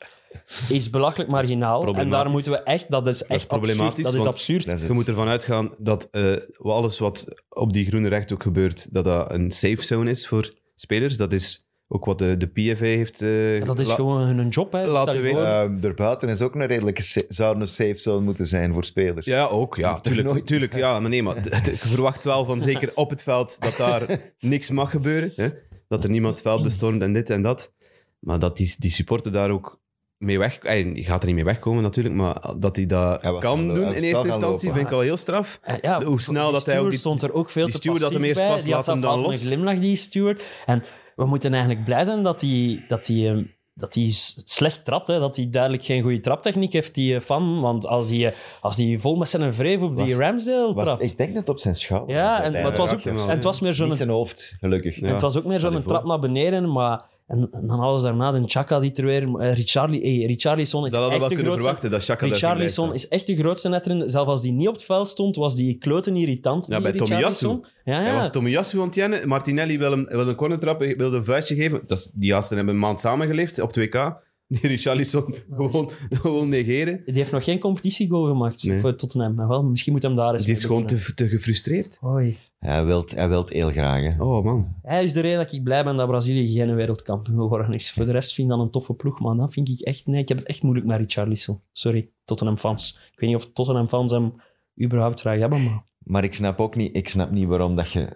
Speaker 4: is belachelijk marginaal. en daar
Speaker 3: problematisch.
Speaker 4: moeten we echt... Dat is echt
Speaker 3: problematisch,
Speaker 4: absurd. Dat is
Speaker 3: want-
Speaker 4: absurd.
Speaker 2: Dat is
Speaker 3: Je
Speaker 2: het.
Speaker 3: moet ervan uitgaan dat eh, alles wat op die groene rechthoek gebeurt, dat dat een safe zone is voor spelers. Dat is ook wat de, de PFA heeft... eh,
Speaker 4: Dat is
Speaker 3: la-
Speaker 4: gewoon hun job, hè.
Speaker 3: laten
Speaker 4: Stel je
Speaker 3: weten.
Speaker 4: voor-
Speaker 2: Ehm, daarbuiten is ook een redelijke... sa- Zou een safe zone moeten zijn voor spelers.
Speaker 3: Ja, ook. Ja, tuurlijk.
Speaker 2: nooit-
Speaker 3: tuurlijk ja, maar nee, maar d- d- je verwacht wel van zeker op het veld dat daar niks mag gebeuren. Hè? Dat er niemand het veld bestormt en dit en dat. Maar dat die, die supporter daar ook mee weg... ey, Je gaat er niet mee wegkomen natuurlijk, maar dat hij dat
Speaker 2: Hij was
Speaker 3: kan
Speaker 2: gaan lo-
Speaker 3: doen
Speaker 2: hij was
Speaker 3: in
Speaker 2: wel
Speaker 3: eerste
Speaker 2: gaan
Speaker 3: instantie
Speaker 2: lopen.
Speaker 3: vind ik al heel straf.
Speaker 4: Eh, ja,
Speaker 3: Hoe snel
Speaker 4: die
Speaker 3: dat hij ook
Speaker 4: steward
Speaker 3: die-
Speaker 4: stond er ook veel
Speaker 3: die
Speaker 4: te
Speaker 3: steward had
Speaker 4: passief
Speaker 3: hem eerst
Speaker 4: bij.
Speaker 3: vast,
Speaker 4: Die had
Speaker 3: laat hem
Speaker 4: zelf
Speaker 3: dan
Speaker 4: half
Speaker 3: los.
Speaker 4: een glimlach, die steward. En we moeten eigenlijk blij zijn dat hij... Dat hij ehm, dat hij s- slecht trapt, hè. dat hij duidelijk geen goede traptechniek heeft, die eh, fan. Want als hij, eh, als hij vol met zijn wreef op die
Speaker 2: Was-
Speaker 4: Ramsdale
Speaker 2: Was-
Speaker 4: trapt...
Speaker 2: ik denk net op zijn schouder.
Speaker 4: Ja,
Speaker 2: Dat
Speaker 4: en,
Speaker 2: hij
Speaker 4: maar het was ook,
Speaker 2: raakt
Speaker 3: raakte hem
Speaker 4: en
Speaker 3: wel.
Speaker 2: heeft.
Speaker 4: het was meer zo'n,
Speaker 2: Niet zijn hoofd, gelukkig.
Speaker 4: en het was ook meer
Speaker 3: stel je
Speaker 4: zo'n
Speaker 3: voor.
Speaker 4: trap naar beneden, maar... En, en dan alles daarna, de Chaka die er weer... eh, Richarli, hey, Richarlison is
Speaker 3: Dat hadden we wel
Speaker 4: echt de
Speaker 3: kunnen
Speaker 4: grootste...
Speaker 3: verwachten, dat Chaka daar ging
Speaker 4: Richarlison
Speaker 3: bij
Speaker 4: is echt de grootste netter. in de- Zelfs als die niet op het veld stond, was die kloten irritant.
Speaker 3: Ja, bij
Speaker 4: die Richarlison. Ja,
Speaker 3: Hij
Speaker 4: ja.
Speaker 3: was Tomiyasu aan het jennen. Martinelli wil een, wil een corner trappen, wilde een vuistje geven. Dat is, die gasten hebben een maand samengeleefd op 2K. Die Richarlison gewoon, gewoon negeren.
Speaker 4: Die heeft nog geen competitiegoal gemaakt
Speaker 3: Nee.
Speaker 4: voor Tottenham. Maar wel, misschien moet hem daar eens
Speaker 3: Die is
Speaker 4: mee
Speaker 3: gewoon
Speaker 4: beginnen.
Speaker 3: te, te gefrustreerd.
Speaker 4: Hoi.
Speaker 2: Hij wil hij wilt heel graag. hè.
Speaker 3: Oh man.
Speaker 4: Hij is de reden dat ik blij ben dat Brazilië geen wereldkampioen geworden is. Voor de rest vind ik dat een toffe ploeg, maar dat vind ik echt... Nee, ik heb het echt moeilijk met Richarlison. Sorry, Tottenham-fans. Ik weet niet of Tottenham-fans hem überhaupt graag hebben, maar...
Speaker 2: Maar ik snap ook niet, ik snap niet waarom dat je,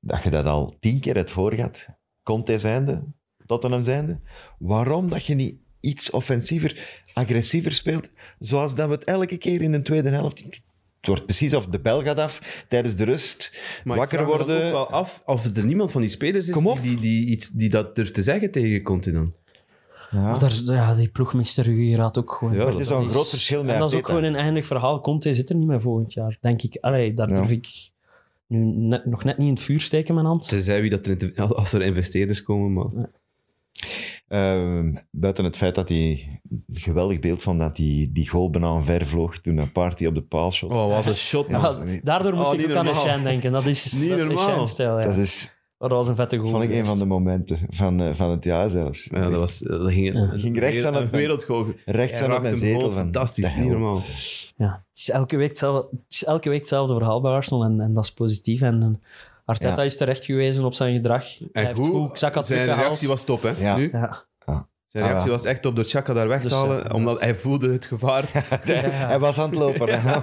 Speaker 2: dat je dat al tien keer het voorgaat. Conte zijnde, Tottenham zijnde. Waarom dat je niet iets offensiever, agressiever speelt, zoals dat we het elke keer in de tweede helft... Het wordt precies of de bel gaat af tijdens de rust,
Speaker 3: Maar
Speaker 2: wakker
Speaker 3: ik vraag me dan
Speaker 2: worden...
Speaker 3: ook wel af of er niemand van die spelers is
Speaker 2: Kom op.
Speaker 3: Die, die, iets, die dat durft te zeggen tegen Conti dan.
Speaker 4: Maar daar, ja, die ploegmeester Ruggier had ook gewoon...
Speaker 3: Ja, Maar
Speaker 2: Het is wel een groot verschil met
Speaker 4: En dat is ook
Speaker 2: Arteta.
Speaker 4: gewoon een eindig verhaal. Conte zit er niet meer volgend jaar, denk ik. Allee, daar
Speaker 2: Ja.
Speaker 4: durf ik nu net, nog net niet in het vuur steken, mijn hand.
Speaker 3: Tenzij wie dat er, in- als er investeerders komen, maar...
Speaker 2: Ehm, buiten het feit dat hij een geweldig beeld van dat die, die goal bijna omver vloog toen een party op de paal shot.
Speaker 3: Oh, wat een shot.
Speaker 2: Ja.
Speaker 4: Ah, daardoor moest
Speaker 3: Oh,
Speaker 4: ik
Speaker 3: niet
Speaker 4: ook aan
Speaker 3: normaal.
Speaker 4: Etienne denken. Dat is,
Speaker 3: Niet
Speaker 4: dat is
Speaker 3: normaal.
Speaker 4: Etienne-stijl, ja.
Speaker 2: Dat is,
Speaker 4: Maar dat was een vette goal.
Speaker 2: vond ik, een van de momenten van, eh, van het jaar zelfs.
Speaker 3: Ja, dat, was, dat ging,
Speaker 4: Ja.
Speaker 2: Ging rechts aan het-
Speaker 3: Een wereldgoal.
Speaker 2: Rechts
Speaker 3: Hij
Speaker 2: aan op
Speaker 3: raakte
Speaker 2: mijn
Speaker 3: hem
Speaker 2: zetel
Speaker 3: gewoon
Speaker 2: van...
Speaker 3: Fantastisch,
Speaker 2: de
Speaker 3: niet
Speaker 2: hel.
Speaker 3: normaal.
Speaker 4: Ja, het is elke week hetzelfde, het is elke week hetzelfde verhaal bij Arsenal en, en dat is positief. En, en Arteta
Speaker 2: Ja.
Speaker 4: is terecht gewezen op zijn gedrag. Hij heeft goed Xhaka
Speaker 3: zijn
Speaker 4: teruggehaald.
Speaker 3: reactie was top, hè.
Speaker 2: Ja.
Speaker 3: Nu?
Speaker 4: Ja.
Speaker 3: Zijn
Speaker 2: Ah,
Speaker 3: reactie
Speaker 2: ja.
Speaker 3: was echt top door Chaka daar weg te
Speaker 4: Dus,
Speaker 3: halen,
Speaker 4: ja,
Speaker 3: omdat hij voelde het gevaar.
Speaker 2: Hij was aan het lopen.
Speaker 4: Hij,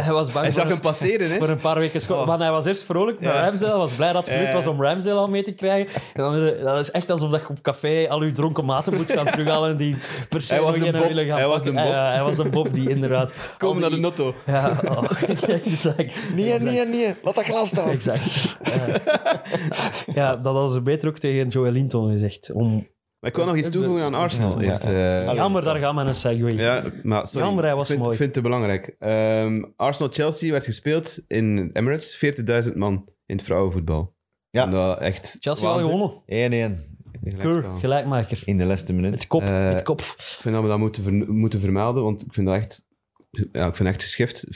Speaker 4: hij was bang
Speaker 3: Hij
Speaker 4: voor,
Speaker 3: zag hem passeren, hè.
Speaker 4: voor een paar weken schot.
Speaker 3: Oh.
Speaker 4: Maar hij was eerst vrolijk met
Speaker 3: Ja.
Speaker 4: Ramsdale. Hij was blij dat het gelukt
Speaker 3: Ja.
Speaker 4: was om Ramsdale al mee te krijgen. En dan, dat is echt alsof dat je op café al je dronken maten moet gaan terughalen die per se
Speaker 3: Hij was
Speaker 4: nog
Speaker 3: een
Speaker 4: een
Speaker 3: Bob.
Speaker 4: willen gaan
Speaker 3: Hij was
Speaker 4: pakken.
Speaker 3: een Bob.
Speaker 4: Ja, ja, hij was een bob die inderdaad... al
Speaker 3: Komen naar de
Speaker 4: die-
Speaker 3: notto.
Speaker 4: Ja, oh. exact.
Speaker 2: Nee, nee, nee. Laat dat glas staan.
Speaker 4: Exact. Eh, ja, dat hadden ze beter ook tegen Joel Linton gezegd. Om...
Speaker 3: Maar ik wil nog iets toevoegen aan Arsenal.
Speaker 2: Ja.
Speaker 3: Eerst, eh,
Speaker 2: Allee.
Speaker 4: Jammer, daar gaan we een segue.
Speaker 3: Ja, maar sorry.
Speaker 4: Jammer, hij was
Speaker 3: ik vind,
Speaker 4: mooi.
Speaker 3: Ik vind het te belangrijk. Ehm, Arsenal-Chelsea werd gespeeld in Emirates. 40.000 man in het vrouwenvoetbal.
Speaker 2: Ja.
Speaker 3: En dat echt
Speaker 4: Chelsea al
Speaker 3: waanzin-
Speaker 4: gewonnen.
Speaker 2: 1-1
Speaker 3: Gelijkspel.
Speaker 4: Keur, gelijkmaker.
Speaker 2: in de laatste minuut.
Speaker 4: Het kop,
Speaker 3: Eh,
Speaker 4: het kop.
Speaker 3: Ik vind dat we dat moeten, ver- moeten vermelden, want ik vind dat echt, ja, ik vind dat echt geschift.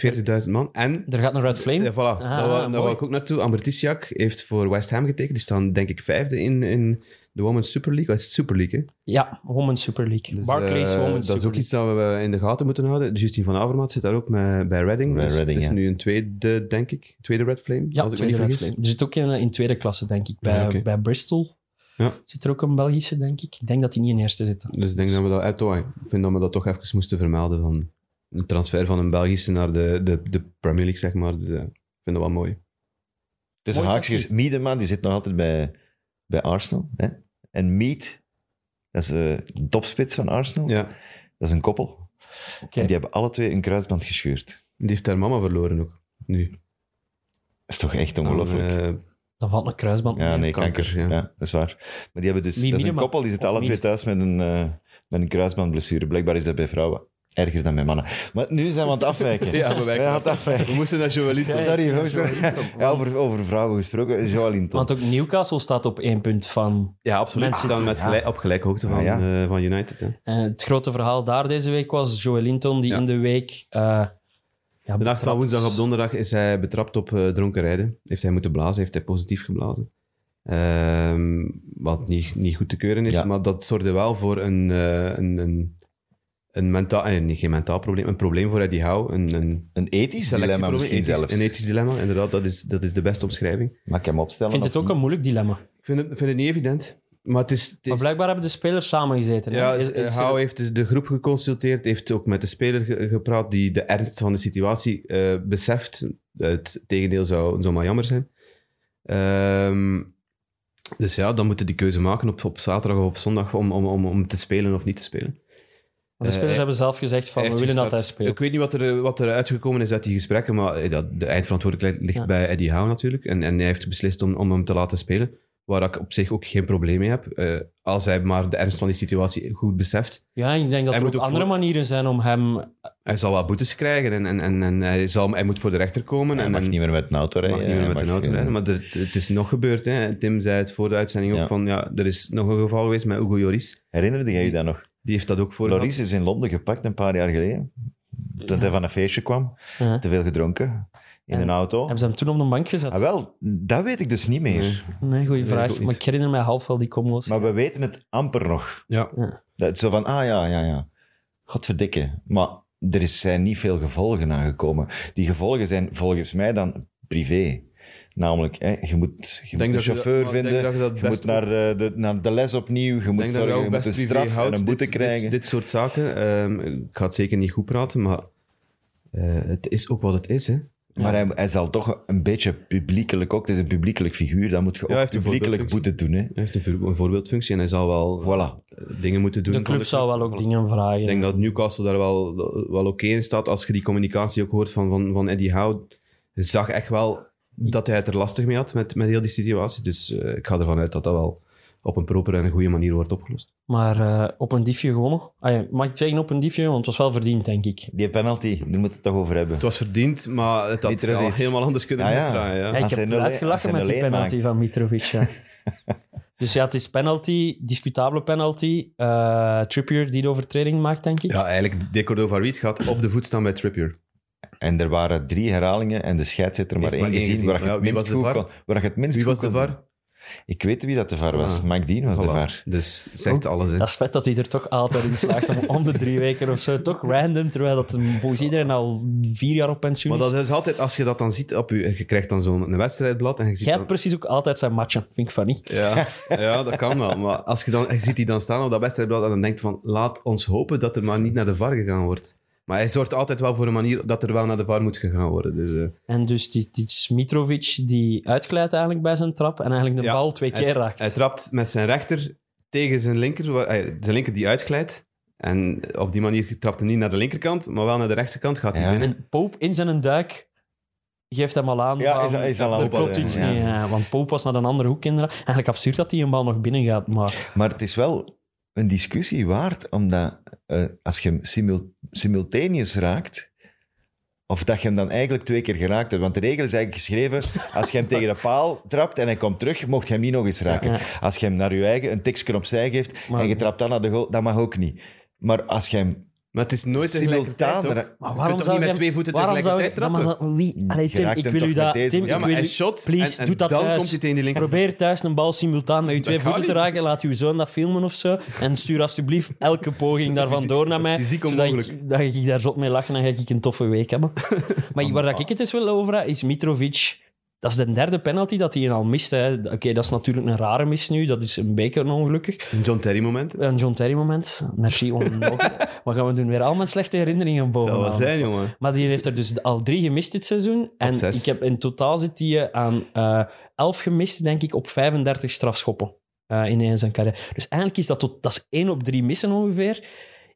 Speaker 3: 40.000 man. En,
Speaker 4: Er gaat een Red Flame.
Speaker 3: ja, voilà,
Speaker 4: Ah,
Speaker 3: daar wou- daar
Speaker 4: mooi.
Speaker 3: wou ik ook naartoe. Ambertisiak heeft voor West Ham getekend. Die staan denk ik vijfde in, in de Women's Super League. Oh, het is Super League, hè?
Speaker 4: Ja, Women's Super League.
Speaker 3: Dus,
Speaker 4: Barclays
Speaker 3: eh,
Speaker 4: Women's
Speaker 3: Dat is
Speaker 4: Super
Speaker 3: ook iets dat we in de gaten moeten houden. Justin van Avermaat zit daar ook met, bij Reading.
Speaker 2: Bij
Speaker 3: dus
Speaker 2: Reading,
Speaker 3: het
Speaker 2: ja.
Speaker 3: is nu een tweede, denk ik. Tweede Red Flame,
Speaker 4: Ja,
Speaker 3: als ik me niet
Speaker 4: tweede Red
Speaker 3: vergis.
Speaker 4: Flame. Er zit ook in, in tweede klasse, denk ik. Bij,
Speaker 3: Ja, oké.
Speaker 4: bij Bristol
Speaker 3: Ja.
Speaker 4: zit er ook een Belgische, denk ik. Ik denk dat die niet in eerste zitten.
Speaker 3: Dus ik denk dat we dat... eh, toch, Ik vind dat we dat toch even moesten vermelden van de transfer van een Belgische naar de, de, de Premier League, zeg maar. Dus, eh, ik vind dat wel mooi.
Speaker 2: Tussen
Speaker 4: Mooi
Speaker 2: haakjes.
Speaker 4: tactiek.
Speaker 2: Miedeman, die zit nog altijd bij, bij Arsenal. Hè? En Mead, dat is de topspits van Arsenal.
Speaker 3: Ja.
Speaker 2: Dat is een koppel.
Speaker 4: Oké.
Speaker 2: En die hebben alle twee een kruisband gescheurd.
Speaker 3: Die heeft haar mama verloren ook. Nu.
Speaker 2: Dat is toch echt ongelooflijk.
Speaker 3: Aan, eh,
Speaker 4: Dan valt een kruisband
Speaker 2: ja,
Speaker 4: mee.
Speaker 2: nee, kanker.
Speaker 3: kanker,
Speaker 2: ja.
Speaker 3: ja.
Speaker 2: dat is waar. Maar die hebben dus...
Speaker 4: Wie
Speaker 2: dat is een
Speaker 4: minimaal,
Speaker 2: koppel, die zitten
Speaker 4: of
Speaker 2: alle twee
Speaker 4: niet?
Speaker 2: thuis met een, eh, met een kruisbandblessure. Blijkbaar is dat bij vrouwen erger dan bij mannen. Maar nu zijn we aan het afwijken.
Speaker 3: Ja, we
Speaker 2: we
Speaker 3: wijken
Speaker 2: gaan
Speaker 3: af.
Speaker 2: het afwijken.
Speaker 3: we moesten naar Joëlie toe.
Speaker 2: Sorry, jongens. Ja, over, over vrouwen gesproken. Joalinton.
Speaker 4: Want ook Newcastle staat op één punt van...
Speaker 3: Ja, absoluut.
Speaker 4: Mensen
Speaker 3: Mensen staan met gelijk, op gelijke hoogte van,
Speaker 2: Ah, ja.
Speaker 3: eh, van United. Hè.
Speaker 4: Eh, het grote verhaal daar deze week was Joelinton, die
Speaker 3: Ja.
Speaker 4: in de week... eh, ja,
Speaker 3: De nacht van
Speaker 4: betrapt-
Speaker 3: woensdag op donderdag is hij betrapt op eh, dronken rijden. Heeft hij moeten blazen, heeft hij positief geblazen. Ehm, wat niet, niet goed te keuren is,
Speaker 2: Ja.
Speaker 3: maar dat zorgde wel voor een, eh, een, een, een mentaal... eh, nee, geen mentaal probleem, een probleem voor Eddie Howe. Een, een
Speaker 2: Een ethisch dilemma
Speaker 3: selectieprobleem,
Speaker 2: misschien
Speaker 3: ethisch-
Speaker 2: zelfs.
Speaker 3: Een ethisch dilemma, inderdaad. Dat is, dat is de beste omschrijving.
Speaker 2: Mag ik hem opstellen?
Speaker 4: Ik vind het
Speaker 2: of
Speaker 4: ook een moeilijk dilemma.
Speaker 3: Ik vind het, vind het niet evident, maar het is... Het
Speaker 4: Maar
Speaker 3: is-
Speaker 4: blijkbaar hebben de spelers samen gezeten. hè?
Speaker 3: Ja, is,
Speaker 4: Is- is er-
Speaker 3: Hou heeft dus de groep geconsulteerd, heeft ook met de speler ge- gepraat die de ernst van de situatie eh, beseft. Het tegendeel zou, zou maar jammer zijn. Ehm, dus ja, dan moeten die keuze maken op, op zaterdag of op zondag om, om, om, om te spelen of niet te spelen.
Speaker 4: Want de spelers
Speaker 3: eh,
Speaker 4: hebben zelf gezegd van,
Speaker 3: Hij
Speaker 4: we willen
Speaker 3: heeft
Speaker 4: dat hij
Speaker 3: gestart.
Speaker 4: speelt.
Speaker 3: Ik weet niet wat er, wat er uitgekomen is uit die gesprekken, maar eh, dat, de eindverantwoordelijkheid ligt
Speaker 4: Ja.
Speaker 3: bij Eddie Howe natuurlijk. En, en hij heeft beslist om, om hem te laten spelen, waar ik op zich ook geen probleem mee heb. eh, als hij maar de ernst van die situatie goed beseft.
Speaker 4: Ja, ik denk
Speaker 3: Hij
Speaker 4: dat er ook
Speaker 3: moet ook
Speaker 4: andere
Speaker 3: voor-
Speaker 4: manieren zijn om hem...
Speaker 3: Hij zal wel boetes krijgen en, en, en, en hij, zal, hij moet voor de rechter komen.
Speaker 2: niet? Hij
Speaker 3: en,
Speaker 2: mag
Speaker 3: en
Speaker 2: niet meer met een auto
Speaker 3: mag
Speaker 2: rijden.
Speaker 3: niet meer
Speaker 2: Hij
Speaker 3: met een
Speaker 2: mag
Speaker 3: auto
Speaker 2: geen-
Speaker 3: rijden. Maar er- het is nog gebeurd. Hè. Tim zei het voor de uitzending ook
Speaker 2: Ja.
Speaker 3: van, ja, er is nog een geval geweest met Hugo Joris.
Speaker 2: Herinnerde jij je dat nog?
Speaker 3: Die heeft dat ook voor
Speaker 2: Loris is in Londen gepakt een paar jaar geleden. Dat hij van een feestje kwam.
Speaker 4: Ja.
Speaker 2: Te veel gedronken. In
Speaker 4: En-
Speaker 2: een auto.
Speaker 4: eh, Hebben ze hem toen op de bank gezet?
Speaker 2: Ah, wel, dat weet ik dus niet meer.
Speaker 4: Nee, goede
Speaker 3: Nee,
Speaker 4: vraag.
Speaker 3: ook niet.
Speaker 4: maar ik herinner mij half wel die combo's.
Speaker 2: Maar we weten het amper nog.
Speaker 3: Ja.
Speaker 2: Dat het zo van, ah ja, ja, ja. Godverdikke. Maar er is- zijn niet veel gevolgen aangekomen. Die gevolgen zijn volgens mij dan privé. Namelijk, hè, je moet, je moet
Speaker 3: dat
Speaker 2: een
Speaker 3: je
Speaker 2: chauffeur
Speaker 3: dat- maar ik denk
Speaker 2: vinden,
Speaker 3: dat je dat
Speaker 2: je
Speaker 3: best
Speaker 2: moet naar, eh, de, naar de les opnieuw, je moet
Speaker 3: Ik denk dat
Speaker 2: zorgen,
Speaker 3: we
Speaker 2: je
Speaker 3: ook
Speaker 2: moet
Speaker 3: best
Speaker 2: een
Speaker 3: privé
Speaker 2: straf en
Speaker 3: houdt,
Speaker 2: een boete
Speaker 3: dit,
Speaker 2: krijgen.
Speaker 3: Dit, dit soort zaken. Ehm, ik ga het zeker niet goed praten, maar eh, het is ook wat het is. Hè.
Speaker 2: Maar hij, hij zal toch een beetje publiekelijk ook, het is een publiekelijk figuur, dan moet je
Speaker 3: hij
Speaker 2: ook
Speaker 3: heeft een
Speaker 2: publiekelijk boete doen. Hè.
Speaker 3: Hij heeft een, voor- een voorbeeldfunctie en hij zal wel
Speaker 2: Voilà.
Speaker 3: eh, dingen moeten doen.
Speaker 4: de
Speaker 3: van
Speaker 4: club zou wel ook
Speaker 3: Voilà.
Speaker 4: dingen vragen.
Speaker 3: Ik denk dat Newcastle daar wel, wel oké in staat. Als je die communicatie ook hoort van, van, van Eddie Howe, je zag echt wel dat hij het er lastig mee had met, met heel die situatie. Dus eh, ik ga ervan uit dat dat wel op een propere en een goede manier wordt opgelost.
Speaker 4: Maar eh, op een diefje gewonnen. Ah, ja, mag ik zeggen op een diefje? Want het was wel verdiend, denk ik.
Speaker 2: Die penalty, daar moeten we het toch over hebben.
Speaker 3: Het was verdiend, maar het had
Speaker 2: Mitrovic.
Speaker 3: ja, helemaal anders kunnen
Speaker 2: Ja, ja.
Speaker 3: uitdraaien. Ja.
Speaker 4: Ja, ik
Speaker 2: Als hij
Speaker 4: heb
Speaker 2: nul- als hij
Speaker 4: uitgelachen met die
Speaker 2: nul één
Speaker 4: penalty
Speaker 2: maakt.
Speaker 4: van Mitrovic. Ja. dus ja, het is penalty, discutabele penalty. Eh, Trippier die de overtreding maakt, denk ik.
Speaker 3: Ja, eigenlijk, de Cordova Reed gaat op de voet staan bij Trippier.
Speaker 2: En er waren drie herhalingen en de scheidsrechter maar
Speaker 3: Heeft
Speaker 2: één
Speaker 3: maar één
Speaker 2: gezien
Speaker 3: gezien.
Speaker 2: waar je
Speaker 3: Ja,
Speaker 2: het
Speaker 3: wie
Speaker 2: minst
Speaker 3: was de
Speaker 2: goed
Speaker 3: VAR?
Speaker 2: kon. Waar je het minst
Speaker 3: Wie
Speaker 2: goed
Speaker 3: was de
Speaker 2: kon zien.
Speaker 3: VAR?
Speaker 2: Ik weet wie dat de VAR was.
Speaker 3: Ah.
Speaker 2: Mike Dean was de
Speaker 3: Voilà.
Speaker 2: VAR. Oh.
Speaker 3: Dus zegt alles, hè.
Speaker 4: Dat is vet dat hij er toch altijd in slaagt om om de drie weken of zo. Toch random, terwijl dat hem volgens iedereen al vier jaar op pensioen
Speaker 3: Maar
Speaker 4: is.
Speaker 3: dat is altijd, als je dat dan ziet op je, je krijgt dan zo'n wedstrijdblad en je ziet
Speaker 4: Jij
Speaker 3: dan-
Speaker 4: hebt precies ook altijd zijn matchen. Vind ik funny.
Speaker 3: Ja, ja, dat kan wel. Maar als je dan je ziet die dan staan op dat wedstrijdblad en dan denkt van laat ons hopen dat er maar niet naar de VAR gegaan wordt. Maar hij zorgt altijd wel voor een manier dat er wel naar de VAR moet gegaan worden. Dus, eh,
Speaker 4: En dus die, die Mitrovic die uitglijdt eigenlijk bij zijn trap en eigenlijk de
Speaker 3: Ja.
Speaker 4: bal twee keer raakt.
Speaker 3: hij trapt met zijn rechter tegen zijn linker, wa- eh, zijn linker die uitglijdt. En op die manier trapt hij niet naar de linkerkant, maar wel naar de rechterkant gaat hij
Speaker 2: Ja.
Speaker 3: binnen.
Speaker 4: En Pope in zijn duik geeft hem al aan.
Speaker 2: Ja,
Speaker 4: van,
Speaker 2: is- is al aan
Speaker 4: er
Speaker 2: het
Speaker 4: klopt
Speaker 2: oppassen,
Speaker 4: iets
Speaker 2: ja.
Speaker 4: niet. ja, want Pope was naar een andere hoek inderdaad. Eigenlijk absurd dat hij een bal nog binnen gaat. Maar
Speaker 2: Maar het is wel een discussie waard, omdat eh, als je hem simul- simultaneous raakt, of dat je hem dan eigenlijk twee keer geraakt hebt. Want de regel is eigenlijk geschreven, als je hem tegen de paal trapt en hij komt terug, mocht je hem niet nog eens raken.
Speaker 4: Ja.
Speaker 2: Als je hem naar je eigen een tikje opzij geeft
Speaker 4: Maar-
Speaker 2: en je trapt dan naar de goal, dat mag ook niet. Maar als je hem
Speaker 3: Maar het is nooit
Speaker 2: simultaan...
Speaker 3: tegelijkertijd. ook.
Speaker 2: ra-
Speaker 4: Maar
Speaker 3: Je
Speaker 4: waarom
Speaker 3: kunt toch
Speaker 4: zou
Speaker 3: niet met
Speaker 4: je-
Speaker 3: twee voeten
Speaker 4: waarom zou
Speaker 3: tegelijkertijd
Speaker 4: ik... Ja,
Speaker 3: trappen?
Speaker 4: maar dat- wie? Allee,
Speaker 2: Je
Speaker 4: Tim,
Speaker 2: raakt
Speaker 4: ik
Speaker 2: hem
Speaker 4: wil
Speaker 2: toch
Speaker 4: u
Speaker 2: met
Speaker 4: dat...
Speaker 2: deze
Speaker 4: Tim,
Speaker 2: voet.
Speaker 3: ja,
Speaker 4: ik
Speaker 3: maar
Speaker 4: wil
Speaker 3: hij
Speaker 4: u-
Speaker 3: shot
Speaker 4: Please,
Speaker 3: en,
Speaker 4: doe dat
Speaker 3: en dan
Speaker 4: thuis.
Speaker 3: komt hij tegen die linker.
Speaker 4: Probeer thuis een bal simultaan met je twee
Speaker 3: gaat
Speaker 4: voeten te
Speaker 3: niet.
Speaker 4: raken. Laat uw zoon dat filmen of zo. En stuur alsjeblieft elke poging daarvan
Speaker 3: fysiek-
Speaker 4: door naar
Speaker 3: dat is
Speaker 4: mij.
Speaker 3: fysiek
Speaker 4: zodat ik,
Speaker 3: onmogelijk.
Speaker 4: dat ik daar zot mee lachen en ga ik een toffe week hebben. Maar waar dat ik het eens wil over heb, is Mitrovic. Dat is de derde penalty dat hij al mist. hè. Oké, dat is natuurlijk een rare mis nu. Dat is een beetje ongelukkig.
Speaker 3: Een John Terry moment.
Speaker 4: Een John Terry moment. Merci om nog. Wat gaan we doen? Weer al mijn slechte herinneringen
Speaker 3: Dat zou
Speaker 4: boven.
Speaker 3: wel zijn, jongen.
Speaker 4: Maar die heeft er dus al drie gemist dit seizoen. En
Speaker 3: zes.
Speaker 4: ik heb in totaal zit die eh, aan eh elf gemist, denk ik, op 35 strafschoppen eh in heel zijn carrière. Dus eigenlijk is dat, tot, dat is één op drie missen ongeveer.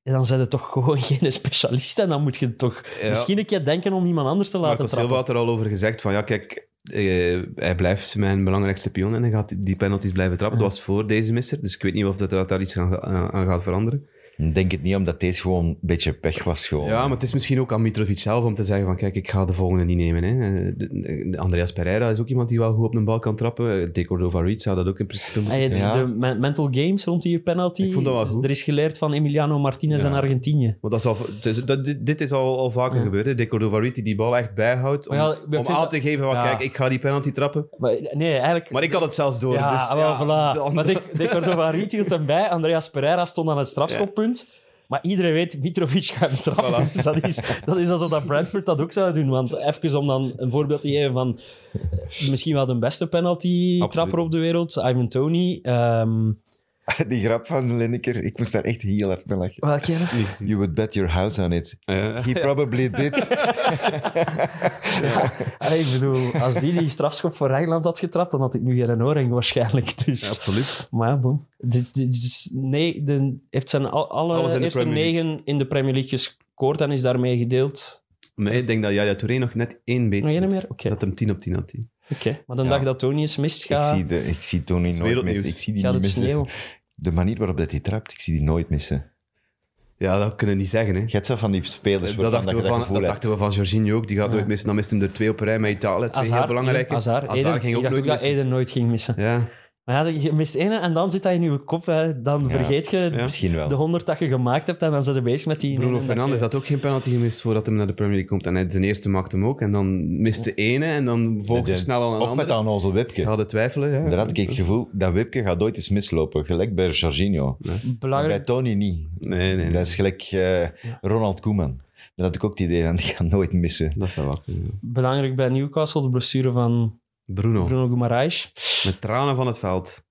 Speaker 4: En dan zijn er toch gewoon geen specialist. En dan moet je toch
Speaker 3: Ja.
Speaker 4: misschien een keer denken om iemand anders te laten
Speaker 3: Marco Silva
Speaker 4: trappen.
Speaker 3: had er al over gezegd van ja, kijk, eh, hij blijft mijn belangrijkste pion en hij gaat die penalties blijven trappen.
Speaker 4: Mhm.
Speaker 3: Dat was voor deze misser, dus ik weet niet of dat, dat daar iets aan, aan- aan gaat veranderen.
Speaker 2: Ik denk het niet, omdat deze gewoon een beetje pech was. Gewoon.
Speaker 3: Ja, maar het is misschien ook aan Mitrovic zelf om te zeggen van kijk, ik ga de volgende niet nemen. Hè. Eh, de- de- Andreas Pereira is ook iemand die wel goed op een bal kan trappen. Eh, De Cordova Reed zou dat ook in principe moeten
Speaker 4: Hey, het-
Speaker 2: Ja.
Speaker 4: De men- mental games rond die penalty.
Speaker 3: Ik vond dat wel
Speaker 4: Dus
Speaker 3: goed.
Speaker 4: Er is geleerd van Emiliano Martinez
Speaker 3: Ja.
Speaker 4: en Argentinië.
Speaker 3: Want dat is al, het is- dat, dit, dit is al, al vaker
Speaker 4: Ja.
Speaker 3: gebeurd. Hè. De Cordova Reed die die bal echt bijhoudt om,
Speaker 4: Maar ja, ik
Speaker 3: om
Speaker 4: vind
Speaker 3: aan
Speaker 4: dat-
Speaker 3: te geven van
Speaker 4: Ja.
Speaker 3: kijk, ik ga die penalty trappen.
Speaker 4: Maar, nee, eigenlijk...
Speaker 3: Maar ik had het zelfs door.
Speaker 4: Ja,
Speaker 3: dus,
Speaker 4: wel,
Speaker 3: ja,
Speaker 4: voilà.
Speaker 3: de andere-
Speaker 4: Maar de, de Cordova Riet hield hem bij. Andreas Pereira stond aan het strafschoppunt. Maar iedereen weet, Mitrovic gaat hem trappen. Dus dat is, dat is alsof dat Brentford dat ook zou doen. Want even om dan een voorbeeld te geven van... eh, Misschien wel de beste penalty-trapper
Speaker 3: Absoluut.
Speaker 4: op de wereld. Ivan Tony. ehm
Speaker 2: Die grap van Lineker, ik moest daar echt heel hard mee lachen.
Speaker 4: welke?
Speaker 3: Niet gezien.
Speaker 2: You would bet your house on it.
Speaker 3: Ja.
Speaker 2: He probably did.
Speaker 4: Ah, ik bedoel, als die die strafschop voor Engeland had getrapt, dan had ik nu geen oorring waarschijnlijk. Dus.
Speaker 3: Ja, absoluut.
Speaker 4: Maar ja, bon. Dit, dit is, nee, de, heeft zijn al-
Speaker 3: Alles
Speaker 4: alle
Speaker 3: in de
Speaker 4: eerste
Speaker 3: Premier League.
Speaker 4: negen in de Premier League gescoord en is daarmee gedeeld.
Speaker 3: Maar ik denk dat Jaya Touré nog net één beter
Speaker 4: Nog één
Speaker 3: is.
Speaker 4: meer? Oké.
Speaker 3: Dat hem 10 op 10 had. die.
Speaker 4: Oké. Maar de dag dat Tony is mist,
Speaker 2: Ik
Speaker 4: ga,
Speaker 2: zie, de, ik zie Tony nooit
Speaker 3: wereldnieuws.
Speaker 2: missen. Ik zie die
Speaker 4: gaat
Speaker 2: niet
Speaker 4: het
Speaker 2: missen.
Speaker 4: sneeuw.
Speaker 2: De manier waarop dat hij trapt, ik zie die nooit missen.
Speaker 3: Ja, dat kunnen we niet zeggen. Hè.
Speaker 2: Je hebt zelf van die spelers
Speaker 3: dat
Speaker 2: waarvan dat je
Speaker 3: dachten, we
Speaker 2: dat
Speaker 3: van,
Speaker 2: gevoel
Speaker 3: dat
Speaker 2: hebt.
Speaker 3: dachten we van Jorginho ook. Die gaat nooit missen. Dan mist hem er twee op een rij met Italië. Twee heel belangrijke.
Speaker 4: Azar. Eden,
Speaker 3: ging
Speaker 4: ik
Speaker 3: ook
Speaker 4: dacht
Speaker 3: nooit
Speaker 4: ook dat
Speaker 3: missen.
Speaker 4: Eden nooit ging missen.
Speaker 3: Ja.
Speaker 4: Maar ja, je mist één en dan zit hij in je kop. Hè. Dan vergeet je
Speaker 3: Ja.
Speaker 2: Misschien wel.
Speaker 4: de honderd dat je gemaakt hebt en dan zijn ze bezig met die... ene
Speaker 3: Bruno
Speaker 4: en dat
Speaker 3: Fernandes
Speaker 4: je-
Speaker 3: had ook geen penalty gemist voordat hij naar de Premier League komt. En hij, zijn eerste maakte hem ook. En dan miste ene en dan volgde
Speaker 2: De-
Speaker 3: er snel al een
Speaker 2: ook met
Speaker 3: andere.
Speaker 2: aan onze Wipke.
Speaker 3: Ik had het twijfelen. Ja.
Speaker 2: Daar had ik het gevoel dat Wipke gaat ooit eens mislopen. Gelijk bij Jorginho. Maar Bij
Speaker 4: Belangrijk,
Speaker 2: Tony niet.
Speaker 3: Nee, nee.
Speaker 2: Dat
Speaker 3: Dat,
Speaker 2: is gelijk eh, Ronald Koeman. Daar had ik ook het idee van, die gaat nooit missen.
Speaker 3: dat zou wel kunnen. ja.
Speaker 4: belangrijk bij Newcastle, de blessure van
Speaker 3: Bruno,
Speaker 4: Bruno Guimaraes.
Speaker 3: met tranen van het veld.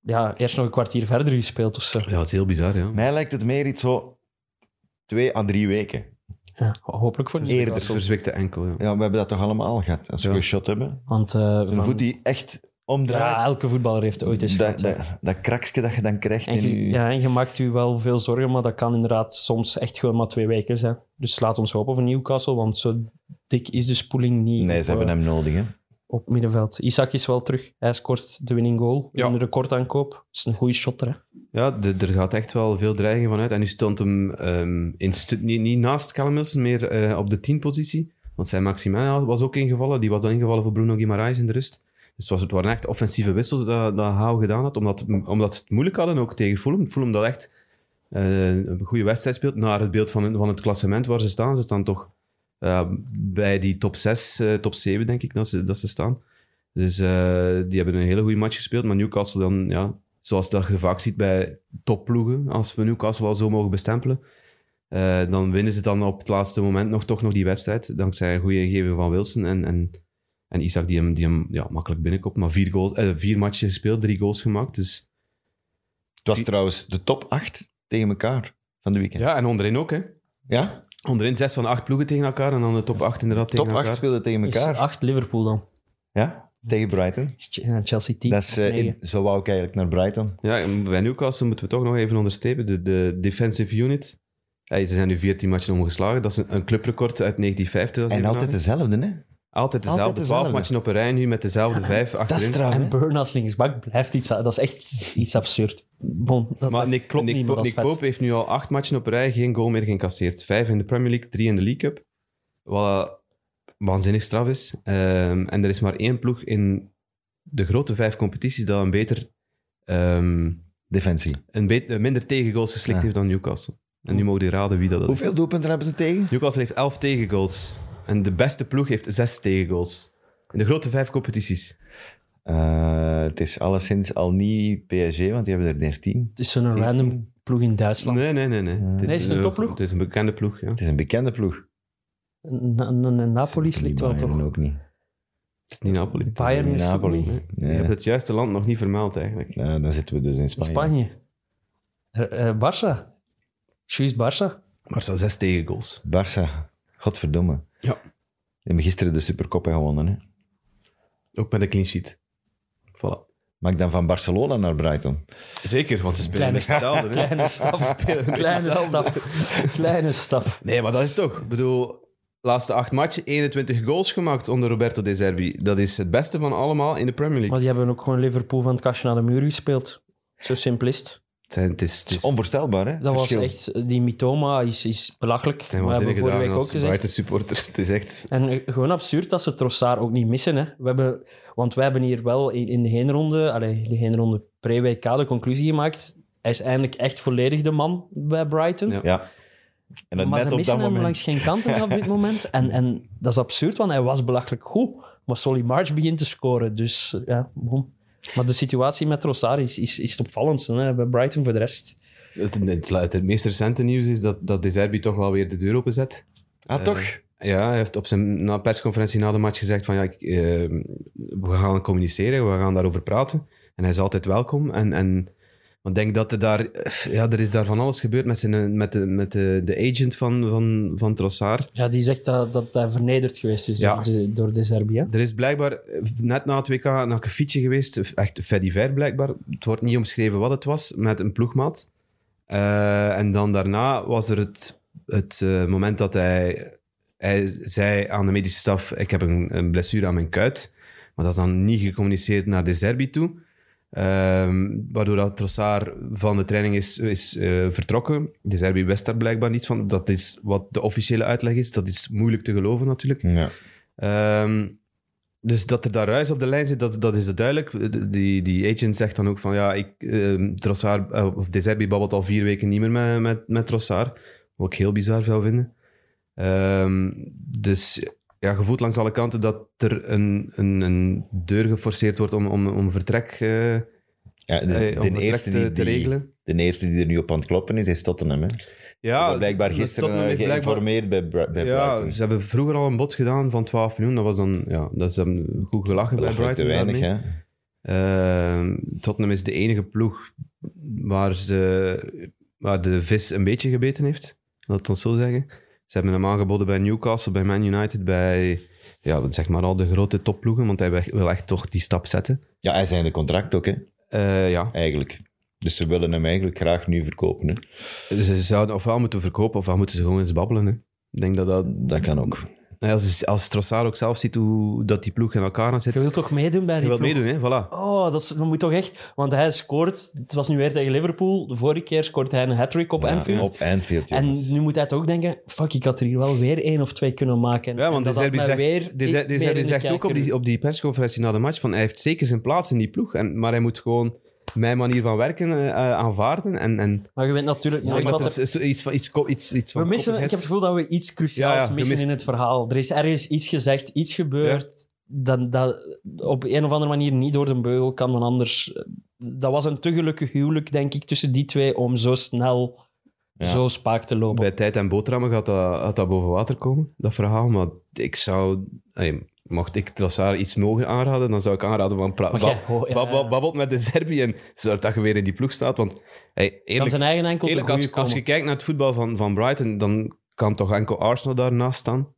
Speaker 4: Ja, eerst nog een kwartier verder gespeeld of zo.
Speaker 3: Ja, het is heel bizar, ja.
Speaker 2: Mij lijkt het meer iets zo twee à drie weken.
Speaker 4: Ja, hopelijk voor niet.
Speaker 2: Eerder.
Speaker 3: Verzwikte enkel, ja.
Speaker 2: Ja, we hebben dat toch allemaal gehad? Als we
Speaker 3: Ja.
Speaker 2: een shot hebben.
Speaker 4: Want eh,
Speaker 2: Een
Speaker 4: van-
Speaker 2: voet die echt omdraait.
Speaker 4: ja, elke voetballer heeft ooit eens
Speaker 2: dat,
Speaker 4: gehad. hè.
Speaker 2: dat, dat kraksje dat je dan krijgt
Speaker 4: En
Speaker 2: in
Speaker 4: je,
Speaker 2: je...
Speaker 4: ja, en je maakt u wel veel zorgen, maar dat kan inderdaad soms echt gewoon maar twee weken zijn. Dus laat ons hopen voor Newcastle, want zo dik is de spoeling niet.
Speaker 2: Nee, ze hebben hem nodig, hè.
Speaker 4: op middenveld. Isaac is wel terug. Hij scoort de winning goal.
Speaker 3: Ja.
Speaker 4: Een recordaankoop. Dat is een goede shotter. Hè?
Speaker 3: Ja, de- er gaat echt wel veel dreiging vanuit. En nu stond hem ehm, in stu- niet, niet naast Callum Wilson, meer eh, op de 10 positie. Want zijn Maxima was ook ingevallen. Die was dan ingevallen voor Bruno Guimaraes in de rust. Dus het, was, het waren echt offensieve wissels dat, dat Hou gedaan had. Omdat, omdat ze het moeilijk hadden ook tegen Fulham. Fulham dat echt eh, een goede wedstrijd speelt. Naar het beeld van, van het klassement waar ze staan. Ze staan toch eh, bij die top 6, eh, top 7 denk ik dat ze, dat ze staan. Dus eh, die hebben een hele goede match gespeeld. Maar Newcastle dan, ja, zoals dat je vaak ziet bij topploegen, als we Newcastle wel zo mogen bestempelen, eh, dan winnen ze dan op het laatste moment nog, toch nog die wedstrijd. Dankzij een goede ingeving van Wilson en, en, en Isaac, die hem, die hem ja, makkelijk binnenkomt. Maar vier, goals, eh, vier matchen gespeeld, drie goals gemaakt. Dus,
Speaker 2: Het was trouwens de top 8 tegen elkaar van de weekend. Ja?
Speaker 3: ja, en onderin ook, hè? Onderin zes van de acht ploegen tegen elkaar en dan de top acht inderdaad tegen
Speaker 2: Top 8
Speaker 3: elkaar.
Speaker 2: speelden tegen
Speaker 4: Is
Speaker 2: elkaar.
Speaker 4: 8 Liverpool dan.
Speaker 2: Ja, tegen Brighton.
Speaker 4: Is Ch- ja, Chelsea 10.
Speaker 2: Dat is, eh, in- zo wou ik eigenlijk naar Brighton.
Speaker 3: Ja, en bij Newcastle moeten we toch nog even onderstrepen. De, de defensive unit. Hey, ze zijn nu 14 matchen omgeslagen. Dat is een, een clubrecord uit 1950. dat ze
Speaker 2: En
Speaker 3: hebben
Speaker 2: altijd
Speaker 3: gedaan.
Speaker 2: dezelfde, hè?
Speaker 3: altijd dezelfde.
Speaker 2: altijd
Speaker 3: 12
Speaker 2: dezelfde.
Speaker 3: matchen op een rij nu met dezelfde vijf
Speaker 2: Dat is
Speaker 3: achterin.
Speaker 2: straf, hè?
Speaker 4: En Burn als linksbak blijft iets... Dat is echt iets absurd. Bon, dat,
Speaker 3: Maar
Speaker 4: dat
Speaker 3: Nick,
Speaker 4: klopt
Speaker 3: Nick,
Speaker 4: niet,
Speaker 3: Po-
Speaker 4: maar dat is
Speaker 3: Nick
Speaker 4: vet.
Speaker 3: Pope heeft nu al acht matchen op rij geen goal meer geïncasseerd. Vijf in de Premier League, drie in de League Cup. Wat waanzinnig straf is. Ehm, en er is maar één ploeg in de grote vijf competities dat een beter, ehm,
Speaker 2: Defensie.
Speaker 3: een bet- eh, minder tegengoals geslikt
Speaker 2: Ja.
Speaker 3: heeft dan Newcastle. En nu mogen die raden wie dat, dat
Speaker 2: Hoeveel
Speaker 3: is.
Speaker 2: doelpunten hebben ze tegen?
Speaker 3: Newcastle heeft elf tegengoals. En de beste ploeg heeft zes tegengoals. In de grote vijf competities.
Speaker 2: Eh, het is alleszins al niet PSG, want die hebben er 13.
Speaker 4: Het is zo'n random ploeg in Duitsland.
Speaker 3: Nee, nee, nee. nee.
Speaker 4: Nee, is het een topploeg?
Speaker 3: Het is een bekende ploeg, ja.
Speaker 2: Het is een bekende ploeg.
Speaker 4: Na- na- na- Napoli
Speaker 2: Die
Speaker 4: slikt wel
Speaker 2: Bayern
Speaker 4: toch.
Speaker 2: ook niet.
Speaker 3: Het is niet Napoli.
Speaker 4: Bayern is ook
Speaker 2: Napoli.
Speaker 4: niet.
Speaker 3: Je
Speaker 2: Nee.
Speaker 3: hebt het juiste land nog niet vermeld, eigenlijk.
Speaker 2: Nou, dan zitten we dus in Spanje.
Speaker 4: Spanje. Eh, eh, Barça. Juist Barça.
Speaker 3: Maar staan zes tegengoals.
Speaker 2: Barça. Godverdomme.
Speaker 3: Ja.
Speaker 2: Die hebben gisteren de Supercop gewonnen. Hè?
Speaker 3: Ook met een clean sheet. Voilà.
Speaker 2: Maak dan van Barcelona naar Brighton.
Speaker 3: Zeker, want ze spelen
Speaker 4: Kleine-
Speaker 3: echt hetzelfde. hè.
Speaker 4: Kleine stap.
Speaker 3: Ze spelen echt
Speaker 4: Kleine
Speaker 3: hetzelfde.
Speaker 4: stap. Kleine stap.
Speaker 3: Nee, maar dat is toch. Ik bedoel, laatste acht matchen, 21 goals gemaakt onder Roberto De Zerbi. Dat is het beste van allemaal in de Premier League.
Speaker 4: Maar die hebben ook gewoon Liverpool van het kastje naar de muur gespeeld. Zo simplist.
Speaker 3: Het zijn- Het is, het
Speaker 2: Het is
Speaker 3: is,
Speaker 2: onvoorstelbaar, hè?
Speaker 4: Dat
Speaker 2: Verschil.
Speaker 4: was echt... eh, Die Mitoma is, is belachelijk.
Speaker 3: zijn
Speaker 4: We hebben
Speaker 3: waanzinnige
Speaker 4: vorige
Speaker 3: dagen
Speaker 4: week ook
Speaker 3: als
Speaker 4: gezegd.
Speaker 3: Brighton supporter. Het is echt...
Speaker 4: En eh, gewoon absurd dat ze Trossard ook niet missen. Hè. We hebben, want wij hebben hier wel in, in de heenronde, allee, de heenronde pre-WK, de conclusie gemaakt. Hij is eindelijk echt volledig de man bij Brighton.
Speaker 3: Ja.
Speaker 2: Ja. En dat
Speaker 4: maar
Speaker 2: net
Speaker 4: ze
Speaker 2: op
Speaker 4: missen
Speaker 2: dat
Speaker 4: hem
Speaker 2: moment.
Speaker 4: langs geen kanten op dit moment. En, en dat is absurd, want hij was belachelijk goed. Maar Solly March begint te scoren, dus eh, ja, bon. Maar de situatie met Trossard is, is, is het opvallendste hè, bij Brighton voor de rest.
Speaker 3: Het, het, het, meest recente nieuws is dat, dat De Zerbi toch wel weer de deur openzet.
Speaker 2: Ah,
Speaker 3: Eh,
Speaker 2: toch?
Speaker 3: Ja, hij heeft op zijn na persconferentie na de match gezegd van ja, ik, eh, we gaan communiceren, we gaan daarover praten. En hij is altijd welkom. En, en want ik denk dat er daar, ja, er is daar van alles gebeurd met, zijn, met, de, met de, de agent van, van, van Trossard.
Speaker 4: Ja, die zegt dat, dat hij vernederd geweest is
Speaker 3: Ja.
Speaker 4: door, de, door de Serbië.
Speaker 3: Er is blijkbaar eh, net na het WK een fietsje geweest, echt Freddy Ver blijkbaar. Het wordt niet omschreven wat het was, met een ploegmaat. Eh, en dan daarna was er het, het eh, moment dat hij, hij zei aan de medische staf: Ik heb een, een blessure aan mijn kuit. Maar dat is dan niet gecommuniceerd naar de Zerbi toe. Ehm, waardoor dat Trossard van de training is, is eh, vertrokken. De Zerbi wist daar blijkbaar niet van. Dat is wat de officiële uitleg is. Dat is moeilijk te geloven natuurlijk.
Speaker 2: Ja.
Speaker 3: Ehm, dus dat er daar ruis op de lijn zit, dat, dat is het duidelijk. De- Die, die agent zegt dan ook van ja, ik, ehm Trossard, eh, of De Zerbi babbelt al vier weken niet meer met, met, met Trossard. Wat ik heel bizar zou vinden. Ehm, dus ja, je voelt langs alle kanten dat er een, een, een deur geforceerd wordt om, om, om vertrek, eh,
Speaker 2: ja de,
Speaker 3: eh,
Speaker 2: de
Speaker 3: om vertrek
Speaker 2: eerste
Speaker 3: te,
Speaker 2: die,
Speaker 3: te
Speaker 2: die,
Speaker 3: regelen.
Speaker 2: de eerste die er nu op aan het kloppen is, is Tottenham. Hè?
Speaker 3: Ja,
Speaker 2: dat blijkbaar
Speaker 3: dat
Speaker 2: gisteren
Speaker 3: Tottenham
Speaker 2: eh,
Speaker 3: heeft blijkbaar-
Speaker 2: geïnformeerd eh, bij, Bri- bij
Speaker 3: Ja,
Speaker 2: Brighton.
Speaker 3: ze hebben vroeger al een bod gedaan van 12 miljoen. Dat was dan, ja, dat is dan goed gelachen bij
Speaker 2: Belachelijk
Speaker 3: Brighton.
Speaker 2: te weinig,
Speaker 3: daarmee.
Speaker 2: hè?
Speaker 3: Ehm, Tottenham is de enige ploeg waar, ze, waar de vis een beetje gebeten heeft. Laat het ons zo zeggen. Ze hebben hem aangeboden bij Newcastle, bij Man United, bij ja, zeg maar al de grote topploegen, want hij wil echt- wil echt toch die stap zetten.
Speaker 2: Ja, hij zijn de contract ook, hè?
Speaker 3: Eh, ja,
Speaker 2: Eigenlijk. Dus ze willen hem eigenlijk graag nu verkopen. Hè?
Speaker 3: ze zouden ofwel moeten verkopen ofwel moeten ze gewoon eens babbelen. Hè. Ik denk dat dat
Speaker 2: Dat kan ook.
Speaker 3: Nou ja, Als, als Trossard ook zelf ziet hoe dat die ploeg in elkaar zit,
Speaker 4: Je wilt toch meedoen bij
Speaker 3: je
Speaker 4: die
Speaker 3: wilt
Speaker 4: ploeg?
Speaker 3: meedoen, hè? Voilà.
Speaker 4: Oh, dat is, dat moet toch echt... Want hij scoort... Het was nu weer tegen Liverpool. De vorige keer scoorde hij een hat-trick op Anfield.
Speaker 2: Op Anfield,
Speaker 4: En
Speaker 2: jongens.
Speaker 4: nu moet hij toch ook denken, fuck, ik had er hier wel weer één of twee kunnen maken.
Speaker 3: Ja,
Speaker 4: En
Speaker 3: want de
Speaker 4: dat had
Speaker 3: Zerbi
Speaker 4: mij
Speaker 3: zegt,
Speaker 4: weer
Speaker 3: de-
Speaker 4: ik
Speaker 3: de- de
Speaker 4: meer
Speaker 3: Zerbi
Speaker 4: in de
Speaker 3: zegt ook op
Speaker 4: kijker.
Speaker 3: die, op die persconferentie na de match van hij heeft zeker zijn plaats in die ploeg, en, maar hij moet gewoon mijn manier van werken eh, eh, aanvaarden. En, en,
Speaker 4: Maar je weet natuurlijk nooit
Speaker 3: maar
Speaker 4: wat
Speaker 3: dat
Speaker 4: er...
Speaker 3: is zo- iets van... Iets, ko- iets, iets
Speaker 4: We
Speaker 3: van
Speaker 4: missen, ik heb het
Speaker 3: koppigheid.
Speaker 4: gevoel dat we iets cruciaals
Speaker 3: Ja, ja, je
Speaker 4: missen
Speaker 3: mist-
Speaker 4: in het verhaal. Er is ergens iets gezegd, iets gebeurd, dat, dat op een of andere manier niet door de beugel kan, want anders... Dat was een te gelukkig huwelijk, denk ik, tussen die twee, om zo snel
Speaker 2: Ja.
Speaker 4: zo spaak te lopen.
Speaker 3: Bij tijd en boterhammen gaat dat, gaat dat boven water komen, dat verhaal. Maar ik zou... ey, mocht ik Trossard iets mogen aanraden, dan zou ik aanraden van... Pra,
Speaker 4: Maar
Speaker 3: bab-
Speaker 4: jij- oh, ja,
Speaker 3: bab-
Speaker 4: ja.
Speaker 3: bab- babbelt met de Serbië en zorg dat je weer in die ploeg staat. Want ey,
Speaker 4: kan
Speaker 3: eerlijk,
Speaker 4: zijn eigen enkel te
Speaker 3: eerlijk
Speaker 4: goede
Speaker 3: als, als je
Speaker 4: komen.
Speaker 3: kijkt naar het voetbal van, van Brighton, dan kan toch enkel Arsenal daarnaast staan.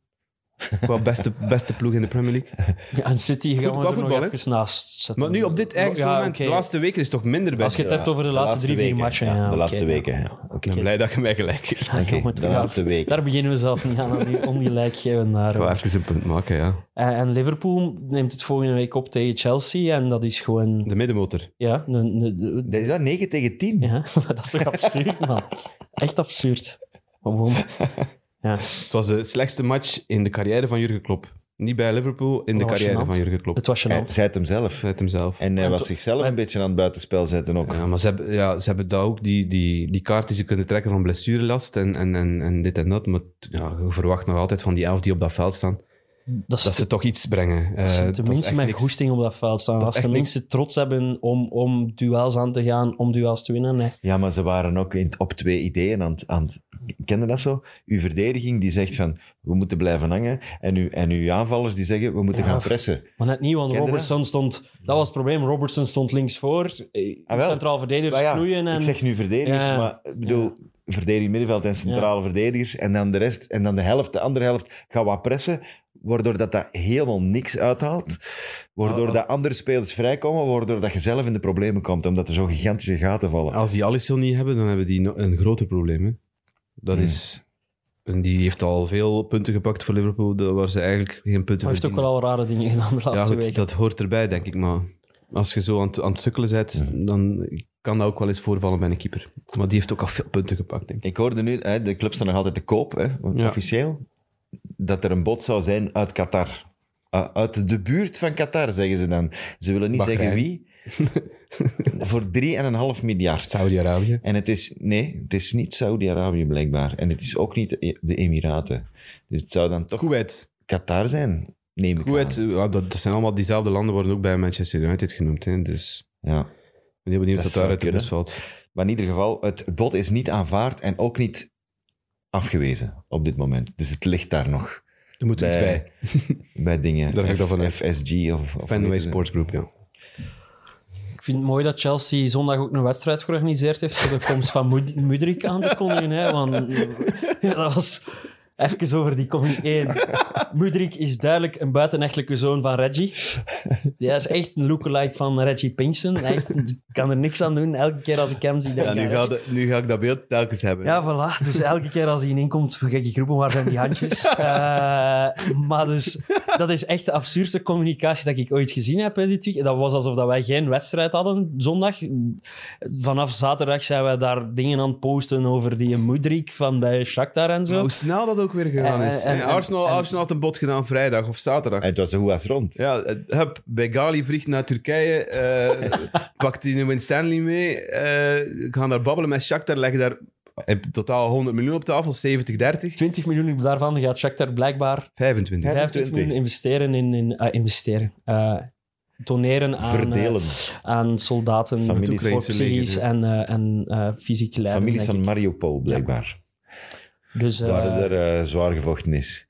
Speaker 3: Qua beste, beste ploeg in de Premier League.
Speaker 4: Ja, en City gaan
Speaker 3: Voetbal-
Speaker 4: we er
Speaker 3: voetbal,
Speaker 4: nog
Speaker 3: hè?
Speaker 4: even naast zetten.
Speaker 3: Maar nu op dit ergste
Speaker 4: Ja,
Speaker 3: moment,
Speaker 4: oké.
Speaker 3: de laatste weken, is het toch minder bij
Speaker 4: Als je het
Speaker 3: Serbië.
Speaker 4: hebt over de
Speaker 2: De
Speaker 4: laatste, drie,
Speaker 2: weken,
Speaker 4: vier matchen. Ja,
Speaker 2: ja, de
Speaker 4: oké.
Speaker 2: laatste weken. ja. Oké,
Speaker 3: Ik ben blij dat je mij gelijk hebt.
Speaker 4: Ja,
Speaker 2: Oké,
Speaker 4: jongen,
Speaker 2: de
Speaker 4: daar-
Speaker 2: laatste weken.
Speaker 4: Daar beginnen we zelf niet aan, aan die ongelijk geven. Naar,
Speaker 3: Ik wil even een punt maken, ja.
Speaker 4: En, en Liverpool neemt het volgende week op tegen Chelsea. En dat is gewoon...
Speaker 3: De middenmotor.
Speaker 4: Ja, een- een- een-
Speaker 2: Dat is dat 9 tegen 10.
Speaker 4: ja dat is toch absurd, man. Echt absurd. Maar Gewoon. Ja.
Speaker 3: Het was de slechtste match in de carrière van Jurgen Klopp. Niet bij Liverpool, in de
Speaker 4: Dat was
Speaker 3: carrière
Speaker 4: gênant.
Speaker 3: van Jurgen Klopp.
Speaker 4: Het was
Speaker 2: Hij
Speaker 3: Eh,
Speaker 4: gênant.
Speaker 2: zei het hem zelf.
Speaker 3: Vanuit hemzelf.
Speaker 2: En hij
Speaker 4: En
Speaker 2: was
Speaker 4: to-
Speaker 2: zichzelf
Speaker 4: maar-
Speaker 2: een beetje aan het buitenspel zetten ook.
Speaker 3: Ja, maar ze hebben, ja, ze hebben daar ook die, die, die kaart die ze kunnen trekken van blessurelast en, en, en, en dit en dat. Maar ja, je verwacht nog altijd van die elf die op dat veld staan,
Speaker 4: Dat is
Speaker 3: dat
Speaker 4: te-
Speaker 3: ze toch iets brengen. Eh,
Speaker 4: dat ze
Speaker 3: dat is
Speaker 4: tenminste
Speaker 3: echt
Speaker 4: met
Speaker 3: niks.
Speaker 4: goesting op dat veld staan.
Speaker 3: is
Speaker 4: Als
Speaker 3: echt
Speaker 4: de mensen trots hebben om, om duels aan te gaan, om duels te winnen. Nee.
Speaker 2: Ja, maar ze waren ook in, op twee ideeën aan het... Aan het ken je dat zo? Uw verdediging die zegt van, we moeten blijven hangen. En, uw, en uw aanvallers die zeggen, we moeten
Speaker 4: Ja,
Speaker 2: gaan
Speaker 4: of-
Speaker 2: pressen.
Speaker 4: Maar net niet, want
Speaker 2: Kende dat?
Speaker 4: Robertson stond... Dat was het probleem. Robertson stond links voor. eh,
Speaker 2: Ah, wel.
Speaker 4: centraal verdedigers
Speaker 2: Maar ja,
Speaker 4: knoeien. En...
Speaker 2: ik zeg nu verdedigers,
Speaker 4: Ja.
Speaker 2: maar ik bedoel... Verdediging middenveld en centrale verdedigers. En dan de rest, en dan de helft, de andere helft, gaan wat pressen. Waardoor dat, dat helemaal niks uithaalt. Waardoor
Speaker 3: Ah,
Speaker 2: dat andere spelers vrijkomen. Waardoor dat je zelf in de problemen komt. Omdat er zo gigantische gaten vallen.
Speaker 3: Als die Alisson niet hebben, dan hebben die no- een groter probleem. Hè. Dat
Speaker 2: Hmm.
Speaker 3: is... En die heeft al veel punten gepakt voor Liverpool, daar waar ze eigenlijk geen punten
Speaker 4: Maar hij heeft ook wel
Speaker 3: verdienen.
Speaker 4: al rare dingen gedaan de laatste
Speaker 3: Ja, goed,
Speaker 4: weken.
Speaker 3: dat hoort erbij, denk ik. Maar als je zo aan het, aan het sukkelen bent, dan kan dat ook wel eens voorvallen bij een keeper. Maar die heeft ook al veel punten gepakt, denk ik.
Speaker 2: Ik hoorde nu, hè, de clubs zijn nog altijd te koop, hè,
Speaker 3: Ja.
Speaker 2: officieel, dat er een bod zou zijn uit Qatar. Uh, uit de buurt van Qatar, zeggen ze dan. Ze willen niet
Speaker 3: Bahrein.
Speaker 2: zeggen wie. Voor 3,5 miljard.
Speaker 3: Saudi-Arabië.
Speaker 2: En het is, nee, het is niet Saudi-Arabië blijkbaar. En het is ook niet de, de Emiraten. Dus het zou dan toch
Speaker 3: Kuwait.
Speaker 2: Qatar zijn, neem ik
Speaker 3: Kuwait,
Speaker 2: aan.
Speaker 3: eh, ja, dat, dat zijn allemaal diezelfde landen, worden ook bij Manchester United genoemd. Hè. Dus
Speaker 2: Ja.
Speaker 3: ik ben heel benieuwd
Speaker 2: Dat
Speaker 3: wat
Speaker 2: zou
Speaker 3: daar uit de
Speaker 2: kunnen.
Speaker 3: bus valt.
Speaker 2: Maar in ieder geval, het bod is niet aanvaard en ook niet afgewezen op dit moment. Dus het ligt daar nog.
Speaker 3: Er moet iets
Speaker 2: Bij-
Speaker 3: bij.
Speaker 2: bij dingen.
Speaker 3: Daar ga ik
Speaker 2: F-
Speaker 3: dan vanuit.
Speaker 2: FSG of, of hoe
Speaker 3: Fenway
Speaker 2: heet het?
Speaker 3: Sports Group, ja.
Speaker 4: Ik vind het mooi dat Chelsea zondag ook een wedstrijd georganiseerd heeft voor de komst van Mud- Mudrik aan te kondigen. Hè, want ja, dat was... Even over die coming 1. Mudrik is duidelijk een buitenechtelijke zoon van Reggie. Hij is echt een lookalike van Reggie Pinkston. Hij echt- ik kan er niks aan doen. Elke keer als ik hem zie, denk ik
Speaker 3: Ja,
Speaker 4: aan
Speaker 3: nu,
Speaker 4: Reggie.
Speaker 3: ga de- nu ga ik dat beeld telkens hebben.
Speaker 4: Ja, voilà. Dus elke keer als hij inkomt, vergeet ik roepen, waar zijn die handjes? Eh, maar dus, dat is echt de absurdste communicatie dat ik ooit gezien heb, hè, dit week. Dat was alsof dat wij geen wedstrijd hadden zondag. Vanaf zaterdag zijn wij daar dingen aan het posten over die Moedrik van bij Shakhtar en
Speaker 3: Maar
Speaker 2: Nou,
Speaker 4: zo.
Speaker 3: hoe snel dat ook weer gegaan
Speaker 4: En-
Speaker 3: is.
Speaker 4: Eh, en-
Speaker 3: En
Speaker 4: en-
Speaker 3: Arsenal,
Speaker 4: en-
Speaker 3: Arsenal had een bod gedaan vrijdag of zaterdag.
Speaker 2: En het was een hoe was rond.
Speaker 3: Ja, eh, hup, Begali vliegt naar Turkije, eh, pakt die Win Stanley mee, eh, gaan daar babbelen met Shakhtar, leggen daar in totaal 100 miljoen op tafel, 70, 30,
Speaker 4: 20 miljoen daarvan gaat Shakhtar blijkbaar
Speaker 3: 25.
Speaker 4: 50
Speaker 2: 25.
Speaker 4: miljoen investeren in... in ah, investeren. Eh, doneren aan,
Speaker 2: Verdelen.
Speaker 4: eh, aan soldaten
Speaker 2: Families.
Speaker 4: voor
Speaker 3: Oekraïnse
Speaker 4: psychisch
Speaker 3: leger,
Speaker 4: en, eh, en eh, fysiek lijden.
Speaker 2: Families
Speaker 4: denk
Speaker 2: van Mariupol, blijkbaar.
Speaker 4: ik. Dus, eh,
Speaker 2: Waar er eh, zwaar gevochten is.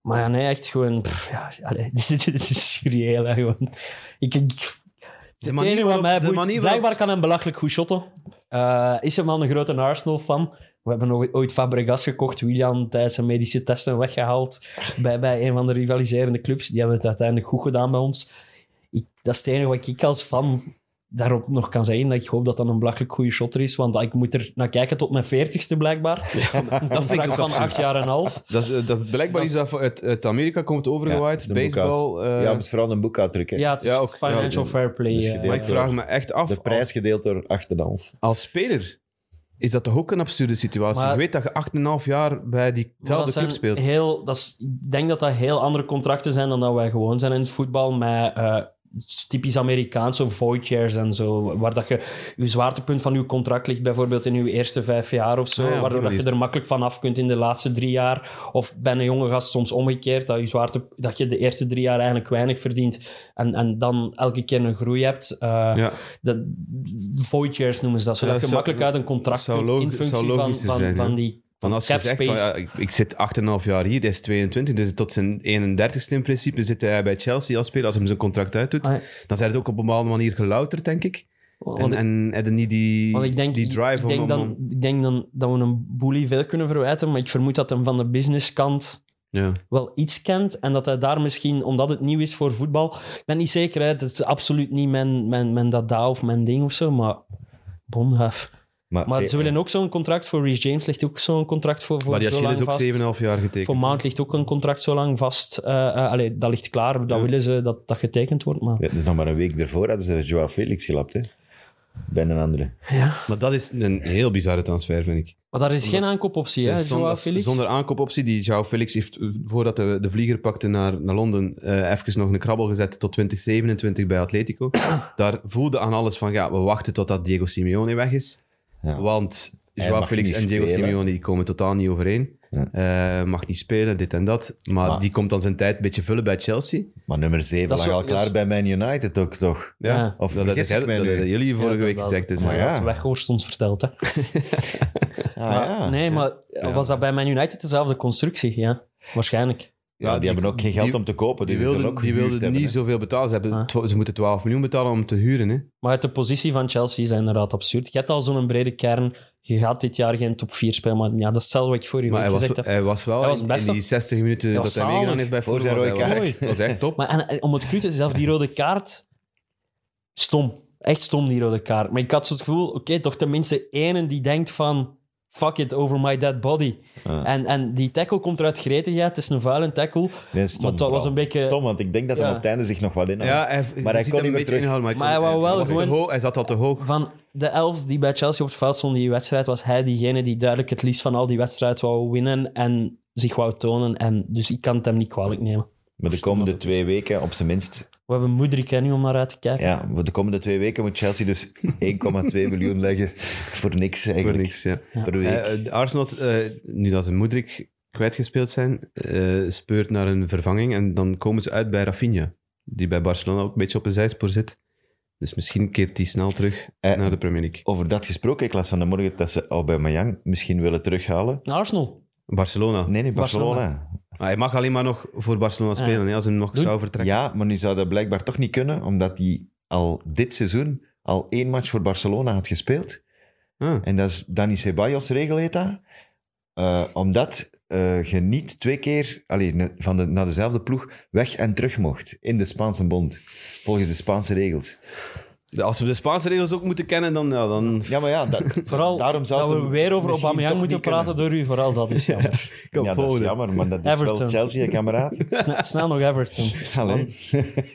Speaker 4: Maar ja, nee, echt gewoon... pff, ja, allee, dit, dit- dit is surreal, hè, gewoon. Ik, ik,
Speaker 3: De
Speaker 4: het
Speaker 3: manier
Speaker 4: enige wat
Speaker 3: waarop-
Speaker 4: mij
Speaker 3: de
Speaker 4: boeit...
Speaker 3: manier waarop-
Speaker 4: Blijkbaar kan hem belachelijk goed shotten. Eh, is hem al een grote Arsenal-fan? We hebben nog ooit Fabregas gekocht. William tijdens zijn medische testen weggehaald bij, bij een van de rivaliserende clubs. Die hebben het uiteindelijk goed gedaan bij ons. Ik, dat is het enige wat ik als fan daarop nog kan zeggen dat ik hoop dat dat een belachelijk goede shotter is. Want ik moet er naar kijken tot mijn veertigste blijkbaar. dat
Speaker 3: vind
Speaker 4: vind
Speaker 3: ik
Speaker 4: ik van
Speaker 3: absurd.
Speaker 4: acht jaar en een half.
Speaker 3: Dat, is- eh, dat, blijkbaar is dat uit, uit Amerika komt overgewaaid.
Speaker 2: de
Speaker 3: baseball.
Speaker 2: boekhoud.
Speaker 3: eh,
Speaker 2: ja, maar het is vooral een boekhoudtruc. hè.
Speaker 4: Ja, het is
Speaker 3: Ja, ook-
Speaker 4: financial
Speaker 2: ja,
Speaker 4: fair play.
Speaker 2: dat is
Speaker 4: eh.
Speaker 2: gedeeld.
Speaker 3: maar ik vraag me echt af.
Speaker 2: De prijs gedeeld door 8,5.
Speaker 3: Als speler is dat toch ook een absurde situatie?
Speaker 4: Maar-
Speaker 3: je weet dat je 8,5 jaar bij
Speaker 4: Maar
Speaker 3: diezelfde club
Speaker 4: zijn
Speaker 3: speelt.
Speaker 4: Heel, dat is, ik denk dat dat heel andere contracten zijn dan dat wij gewoon zijn in het voetbal. Met eh, typisch Amerikaans, zo void years en zo. Waar dat je je zwaartepunt van je contract ligt, bijvoorbeeld in je eerste vijf jaar of zo.
Speaker 3: Ah ja, op die
Speaker 4: waardoor dat je
Speaker 3: manier.
Speaker 4: er makkelijk van af kunt in de laatste drie jaar. Of bij een jonge gast soms omgekeerd, dat je, zwaarte, dat je de eerste drie jaar eigenlijk weinig verdient. En, en dan elke keer een groei hebt. Eh,
Speaker 3: Ja.
Speaker 4: dat, void years noemen ze dat. Zodat
Speaker 3: Ja,
Speaker 4: je
Speaker 3: zou-
Speaker 4: makkelijk uit een contract
Speaker 3: zou
Speaker 4: kunt
Speaker 3: logi-
Speaker 4: in functie
Speaker 3: zou
Speaker 4: van,
Speaker 3: logischer
Speaker 4: van,
Speaker 3: zijn, ja.
Speaker 4: van die
Speaker 3: Van als je
Speaker 4: cap
Speaker 3: zegt,
Speaker 4: space.
Speaker 3: van, ja, ik, ik zit 8,5 jaar hier, hij is 22, dus tot zijn 31ste in principe zit hij bij Chelsea als speler, als hij zijn contract uitdoet.
Speaker 4: Ah, ja.
Speaker 3: Dan zijn het ook op een bepaalde manier gelouterd, denk ik.
Speaker 4: Want
Speaker 3: En,
Speaker 4: ik-
Speaker 3: en hebben niet die,
Speaker 4: Want ik denk,
Speaker 3: die drive
Speaker 4: ik denk,
Speaker 3: om...
Speaker 4: dan,
Speaker 3: om-
Speaker 4: ik denk dan dat we een boelie veel kunnen verwijten, maar ik vermoed dat hem van de businesskant
Speaker 3: ja.
Speaker 4: wel iets kent en dat hij daar misschien, omdat het nieuw is voor voetbal, ik ben niet zeker, hè, het is absoluut niet mijn, mijn, mijn dada of mijn ding of zo, maar bonhaf. Maar
Speaker 2: ve-
Speaker 4: ze willen ook zo'n contract voor Reece James, ligt ook zo'n contract voor, voor
Speaker 3: Maar die
Speaker 4: zo
Speaker 3: Achilles
Speaker 4: lang
Speaker 3: is
Speaker 4: vast.
Speaker 3: ook 7,5 jaar getekend.
Speaker 4: Voor Mount ligt ook een contract zo lang vast. Eh, eh, allee, dat ligt klaar, dat
Speaker 3: Ja.
Speaker 4: willen ze dat dat getekend wordt, maar...
Speaker 2: Ja, dus nog maar een week daarvoor hadden ze Joao Felix gelapt, hè? Bij een andere.
Speaker 3: Maar dat is een heel bizarre transfer, vind ik.
Speaker 4: Maar daar is geen aankoopoptie, hè,
Speaker 3: Dus zon-
Speaker 4: Joao
Speaker 3: dat is
Speaker 4: Felix?
Speaker 3: Zonder aankoopoptie. Die Joao Felix heeft, eh, voordat de, de vlieger pakte naar, naar Londen, eh, even nog een krabbel gezet tot 2027 bij Atletico. Daar voelde aan alles van, ja, we wachten totdat Diego Simeone weg is.
Speaker 2: Ja.
Speaker 3: Want
Speaker 2: Hij
Speaker 3: Joao
Speaker 2: mag
Speaker 3: Felix
Speaker 2: niet
Speaker 3: en Diego
Speaker 2: spelen.
Speaker 3: Simeone die komen totaal niet overeen.
Speaker 2: Ja.
Speaker 3: Eh, mag niet spelen, dit en dat. Maar,
Speaker 2: Maar-
Speaker 3: die komt dan zijn tijd een beetje vullen bij Chelsea.
Speaker 2: Maar nummer 7
Speaker 4: Dat
Speaker 2: lag
Speaker 4: is zo-
Speaker 2: al
Speaker 4: dat
Speaker 2: klaar
Speaker 4: is-
Speaker 2: bij Man United ook, toch?
Speaker 3: Ja.
Speaker 4: Ja.
Speaker 2: Of
Speaker 3: dat
Speaker 2: vergis ik
Speaker 3: hebben
Speaker 2: mij
Speaker 3: dat
Speaker 2: nu?
Speaker 3: hebben jullie vorige
Speaker 4: Ja,
Speaker 3: week
Speaker 4: dat-
Speaker 3: gezegd. Dus
Speaker 2: Maar ja.
Speaker 4: Dat Weghorst ons verteld, hè.
Speaker 2: Ah,
Speaker 4: Maar-
Speaker 2: ja.
Speaker 4: nee, maar
Speaker 3: Ja.
Speaker 4: was dat bij Man United dezelfde constructie? Ja, waarschijnlijk.
Speaker 2: Ja,
Speaker 3: Ja,
Speaker 2: die,
Speaker 3: die-
Speaker 2: hebben ook geen geld
Speaker 3: die-
Speaker 2: om te kopen,
Speaker 3: Die
Speaker 2: dus die,
Speaker 3: wilden,
Speaker 2: ook
Speaker 3: die
Speaker 2: gehuurd
Speaker 3: wilden
Speaker 2: hebben,
Speaker 3: niet
Speaker 2: hè.
Speaker 3: zoveel betalen. Ze, hebben,
Speaker 4: Ah.
Speaker 3: twa- ze moeten 12 miljoen betalen om te huren. Hè.
Speaker 4: Maar uit de positie van Chelsea is dat inderdaad absurd. Je hebt al zo'n brede kern. Je gaat dit jaar geen top 4 spelen. Maar ja, dat is hetzelfde wat ik vorige
Speaker 3: Maar
Speaker 4: week
Speaker 3: hij was,
Speaker 4: gezegd heb.
Speaker 3: hij was wel
Speaker 4: Hij was
Speaker 3: in-
Speaker 4: best
Speaker 3: in die 60 minuten
Speaker 4: Hij
Speaker 3: dat
Speaker 4: was
Speaker 3: hij meegedaan
Speaker 4: zalig.
Speaker 3: heeft bij
Speaker 2: Voor zijn
Speaker 3: Fulham,
Speaker 2: rode
Speaker 3: was hij
Speaker 2: kaart.
Speaker 3: wel- Dat was echt top.
Speaker 4: Maar en, en om het cru te zelf die rode kaart... Stom. Echt stom, die rode kaart. Maar ik had zo het gevoel, oké, toch tenminste één die denkt van... Fuck it, over my dead body.
Speaker 2: Ah.
Speaker 4: En, en die tackle komt eruit gretigheid. Het is een vuile tackle.
Speaker 2: Nee, stom,
Speaker 4: Maar dat was
Speaker 2: vooral.
Speaker 4: een beetje-
Speaker 2: Stom, want ik denk dat hij
Speaker 4: Ja.
Speaker 2: op het einde zich nog wat inhoudt.
Speaker 3: ja, hij, je
Speaker 2: hij kon
Speaker 3: ziet
Speaker 2: niet
Speaker 3: hem een
Speaker 2: meer
Speaker 3: beetje
Speaker 2: terug.
Speaker 3: inhouden,
Speaker 4: Maar hij
Speaker 3: kon-
Speaker 4: wou wel
Speaker 3: was te
Speaker 4: gewoon-
Speaker 3: hoog, hij zat al te hoog.
Speaker 4: Van de elf die bij Chelsea op het veld stond die wedstrijd, was hij diegene die duidelijk het liefst van al die wedstrijd wou winnen en zich wou tonen. En dus ik kan het hem niet kwalijk nemen.
Speaker 2: Maar de komende twee weken, op zijn minst...
Speaker 4: We hebben Moedrik hè, nu om naar uit te kijken.
Speaker 2: Ja, maar de komende twee weken moet Chelsea dus 1,2 miljoen leggen voor niks
Speaker 3: Voor
Speaker 2: eigenlijk.
Speaker 3: niks, ja.
Speaker 2: Per week.
Speaker 3: Eh, eh, Arsenal, eh, nu dat ze Moedrik kwijtgespeeld zijn, eh, speurt naar een vervanging. En dan komen ze uit bij Rafinha, die bij Barcelona ook een beetje op een zijspoor zit. Dus misschien keert hij snel terug
Speaker 2: Eh,
Speaker 3: naar de Premier League.
Speaker 2: Over dat gesproken, ik las van de morgen dat ze Aubameyang misschien willen terughalen.
Speaker 4: Naar Arsenal.
Speaker 3: Barcelona.
Speaker 2: Nee, nee,
Speaker 4: Barcelona.
Speaker 2: Barcelona.
Speaker 3: Maar hij mag alleen maar nog voor Barcelona spelen, hè, als hij hem nog zou vertrekken.
Speaker 2: Ja, maar nu zou dat blijkbaar toch niet kunnen, omdat hij al dit seizoen al één match voor Barcelona had gespeeld.
Speaker 3: Ah.
Speaker 2: En dat is Dani Ceballos regel heet dat. Eh, omdat eh, je niet twee keer allee, ne- van de, naar dezelfde ploeg weg en terug mocht in de Spaanse bond. Volgens de Spaanse regels.
Speaker 3: Als we de Spaanse regels ook moeten kennen, dan... Ja, dan...
Speaker 2: Ja, maar ja, dat,
Speaker 4: Vooral
Speaker 2: daarom zou
Speaker 4: dat
Speaker 2: het
Speaker 4: we
Speaker 2: hem
Speaker 4: weer over
Speaker 2: misschien
Speaker 4: Aubameyang
Speaker 2: toch
Speaker 4: moeten
Speaker 2: niet
Speaker 4: praten door u. Vooral dat is jammer.
Speaker 2: kunnen. Ja, dat is jammer, maar dat is wel
Speaker 4: Everton.
Speaker 2: Chelsea, kameraad.
Speaker 4: Sne- snel nog Everton.
Speaker 2: Allee.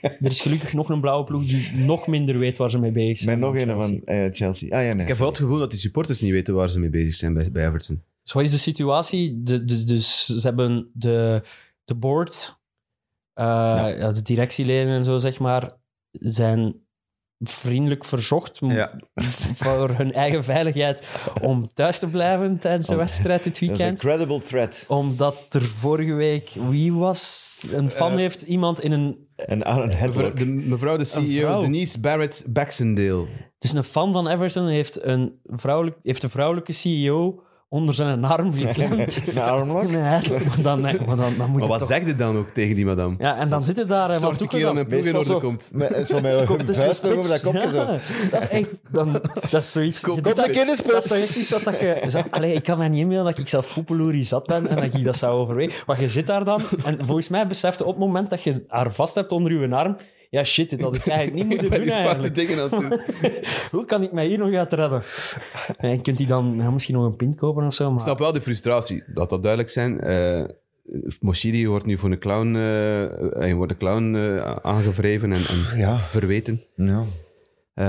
Speaker 4: Er is gelukkig nog een blauwe ploeg die nog minder weet waar ze mee bezig
Speaker 2: Met
Speaker 4: zijn.
Speaker 2: nog
Speaker 4: dan
Speaker 2: een
Speaker 4: Chelsea.
Speaker 2: van eh, Chelsea. Ah ja, nee.
Speaker 3: Ik heb vooral het gevoel dat die supporters niet weten waar ze mee bezig zijn bij, bij Everton.
Speaker 4: Dus wat is de situatie? De, de- dus ze hebben de, de board, eh, ja, de directieleden en zo, zeg maar, zijn vriendelijk verzocht m-
Speaker 3: Ja.
Speaker 4: voor hun eigen veiligheid om thuis te blijven tijdens de
Speaker 2: Om-
Speaker 4: wedstrijd dit
Speaker 2: Dat is een
Speaker 4: weekend.
Speaker 2: credible threat.
Speaker 4: Omdat er vorige week, wie was? Een fan
Speaker 3: Eh,
Speaker 4: heeft iemand in een...
Speaker 2: En Aaron Hedberg.
Speaker 3: De, mevrouw de
Speaker 4: Een
Speaker 3: CEO,
Speaker 4: vrouw.
Speaker 3: Denise Barrett Baxendale.
Speaker 4: Dus een fan van Everton heeft, een vrouwelijk, heeft de vrouwelijke CEO onder zijn arm geklemd.
Speaker 2: Een armlock?
Speaker 4: Nee, maar dan, nee, maar dan, dan moet
Speaker 3: Maar
Speaker 4: het
Speaker 3: wat
Speaker 4: toch-
Speaker 3: zeg je dan ook tegen die madame?
Speaker 4: Ja, en dan zitten daar... eh, wat
Speaker 3: Zorg
Speaker 4: doe
Speaker 3: een
Speaker 4: je
Speaker 3: keer
Speaker 4: dan?
Speaker 3: dat mijn ploeg
Speaker 2: Meestal
Speaker 3: in orde
Speaker 2: zo,
Speaker 3: komt.
Speaker 2: Met, zo met
Speaker 4: Komt
Speaker 2: een
Speaker 4: tussen de
Speaker 2: vuist
Speaker 4: spits.
Speaker 2: over dat kopje
Speaker 4: Ja,
Speaker 2: zo.
Speaker 4: Dat is echt... Dan, dat is zoiets... je doet
Speaker 3: kom
Speaker 4: dat,
Speaker 3: een keer
Speaker 4: dat is toch echt iets wat dat je... zo- Allee, ik kan mij niet inbeelden dat ik zelf poepeloerie zat ben en dat ik dat zou overwegen. Maar je zit daar dan en volgens mij besefte op het moment dat je haar vast hebt onder je arm, ja shit, dit had ik eigenlijk niet moeten doen eigenlijk.
Speaker 3: dingen aan het doen.
Speaker 4: Hoe kan ik mij hier nog uit redden? En kunt hij dan ja, misschien nog een pint kopen of zo? Maar...
Speaker 3: Ik snap wel de frustratie, dat dat duidelijk zijn. Eh Moshiri wordt nu voor een clown, eh, hij wordt een clown eh, aangevreven en, en
Speaker 2: Ja.
Speaker 3: verweten.
Speaker 2: Ja.
Speaker 3: Eh,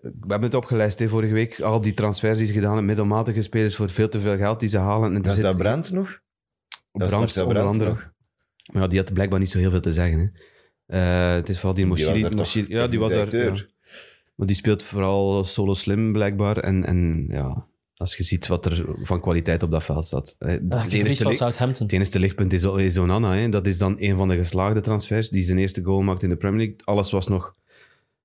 Speaker 3: we hebben het opgelijst hè, vorige week. Al die transfers die ze gedaan hebben, middelmatige spelers voor veel te veel geld die ze halen. En er
Speaker 2: Dat is
Speaker 3: zit-
Speaker 2: dat Brandt nog? dat is
Speaker 3: Brams
Speaker 2: Marcel
Speaker 3: onder
Speaker 2: Brands
Speaker 3: andere.
Speaker 2: nog.
Speaker 3: Maar ja, die had blijkbaar niet zo heel veel te zeggen. Hè. Eh, het is vooral die
Speaker 2: Die was
Speaker 3: Moshiri.
Speaker 2: daar toch
Speaker 3: Moshiri- ja, die was
Speaker 2: technisch
Speaker 3: daar. Ja.
Speaker 2: directeur?
Speaker 3: Maar die speelt vooral solo slim blijkbaar. En, en ja, als je ziet wat er van kwaliteit op dat veld staat. Eh,
Speaker 4: Ah,
Speaker 3: Het
Speaker 4: je verliest
Speaker 3: enige
Speaker 4: van
Speaker 3: li-
Speaker 4: Southampton.
Speaker 3: het enige lichtpunt is, is Onana. Hè. Dat is dan een van de geslaagde transfers die zijn eerste goal maakt in de Premier League. Alles was nog,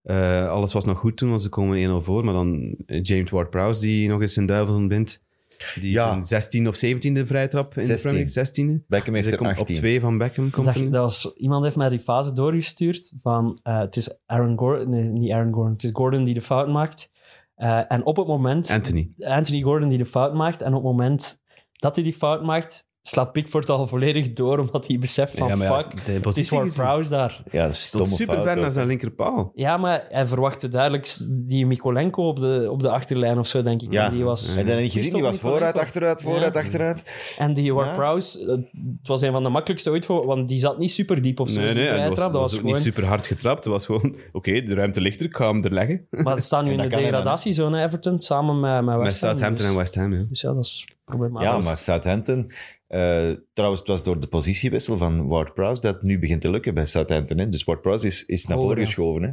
Speaker 3: eh, alles was nog goed toen, want ze komen 1-0 voor. Maar dan eh, James Ward-Prowse die nog eens zijn duivel ontbindt. Die
Speaker 2: Ja.
Speaker 3: van 16 of 17e vrijtrap in de
Speaker 2: 16e.
Speaker 3: Premier League. 16e.
Speaker 2: Beckham heeft
Speaker 3: Dus
Speaker 2: er
Speaker 3: hij komt
Speaker 2: 18.
Speaker 3: op twee van Beckham. Komt
Speaker 4: Dat,
Speaker 3: er nu.
Speaker 4: dat was, iemand heeft mij die fase doorgestuurd van eh, het is Aaron Gordon, nee, niet Aaron Gordon, het is Gordon die de fout maakt. Eh, en op het moment,
Speaker 3: Anthony.
Speaker 4: Anthony Gordon die de fout maakt, en op het moment dat hij die fout maakt, slaat Pickford al volledig door, omdat hij beseft van fuck, het is voor Prowse daar.
Speaker 2: Ja, dat is
Speaker 3: Stond
Speaker 2: domme
Speaker 3: super
Speaker 2: fout
Speaker 3: ver
Speaker 2: ook.
Speaker 3: naar zijn linkerpaal.
Speaker 4: Ja, maar hij verwachtte duidelijk s- die Mikolenko op de, op de achterlijn of zo, denk ik.
Speaker 2: Ja.
Speaker 4: En die was,
Speaker 2: En dan heb je
Speaker 4: Is
Speaker 2: gezien, die
Speaker 4: toch
Speaker 2: was
Speaker 4: niet
Speaker 2: vooruit,
Speaker 4: verdedigbaar?
Speaker 2: achteruit, vooruit, achteruit.
Speaker 4: En die Ward
Speaker 2: Ja.
Speaker 4: Prowse, eh, het was een van de makkelijkste ooit voor, want die zat niet super diep op zo'n
Speaker 3: Nee, nee, en
Speaker 4: vrije
Speaker 3: dat was,
Speaker 4: trap.
Speaker 3: dat was ook
Speaker 4: gewoon...
Speaker 3: niet super hard getrapt. Het was gewoon, oké, de ruimte ligt er, ik ga hem er leggen.
Speaker 4: Maar ze staan nu
Speaker 2: En
Speaker 4: in
Speaker 2: dat
Speaker 4: de
Speaker 2: kan helemaal
Speaker 4: degradatiezone, Everton, samen met, met
Speaker 3: Met
Speaker 4: West Ham.
Speaker 3: Southampton
Speaker 4: dus,
Speaker 3: en West Ham, ja.
Speaker 4: Dus ja, dat is problematisch.
Speaker 2: Ja, maar Southampton... eh, trouwens, het was door de positiewissel van Ward-Prowse dat nu begint te lukken bij Southampton. Hè? Dus Ward-Prowse is, is naar
Speaker 4: Oh,
Speaker 2: voren
Speaker 4: ja.
Speaker 2: geschoven. Hè?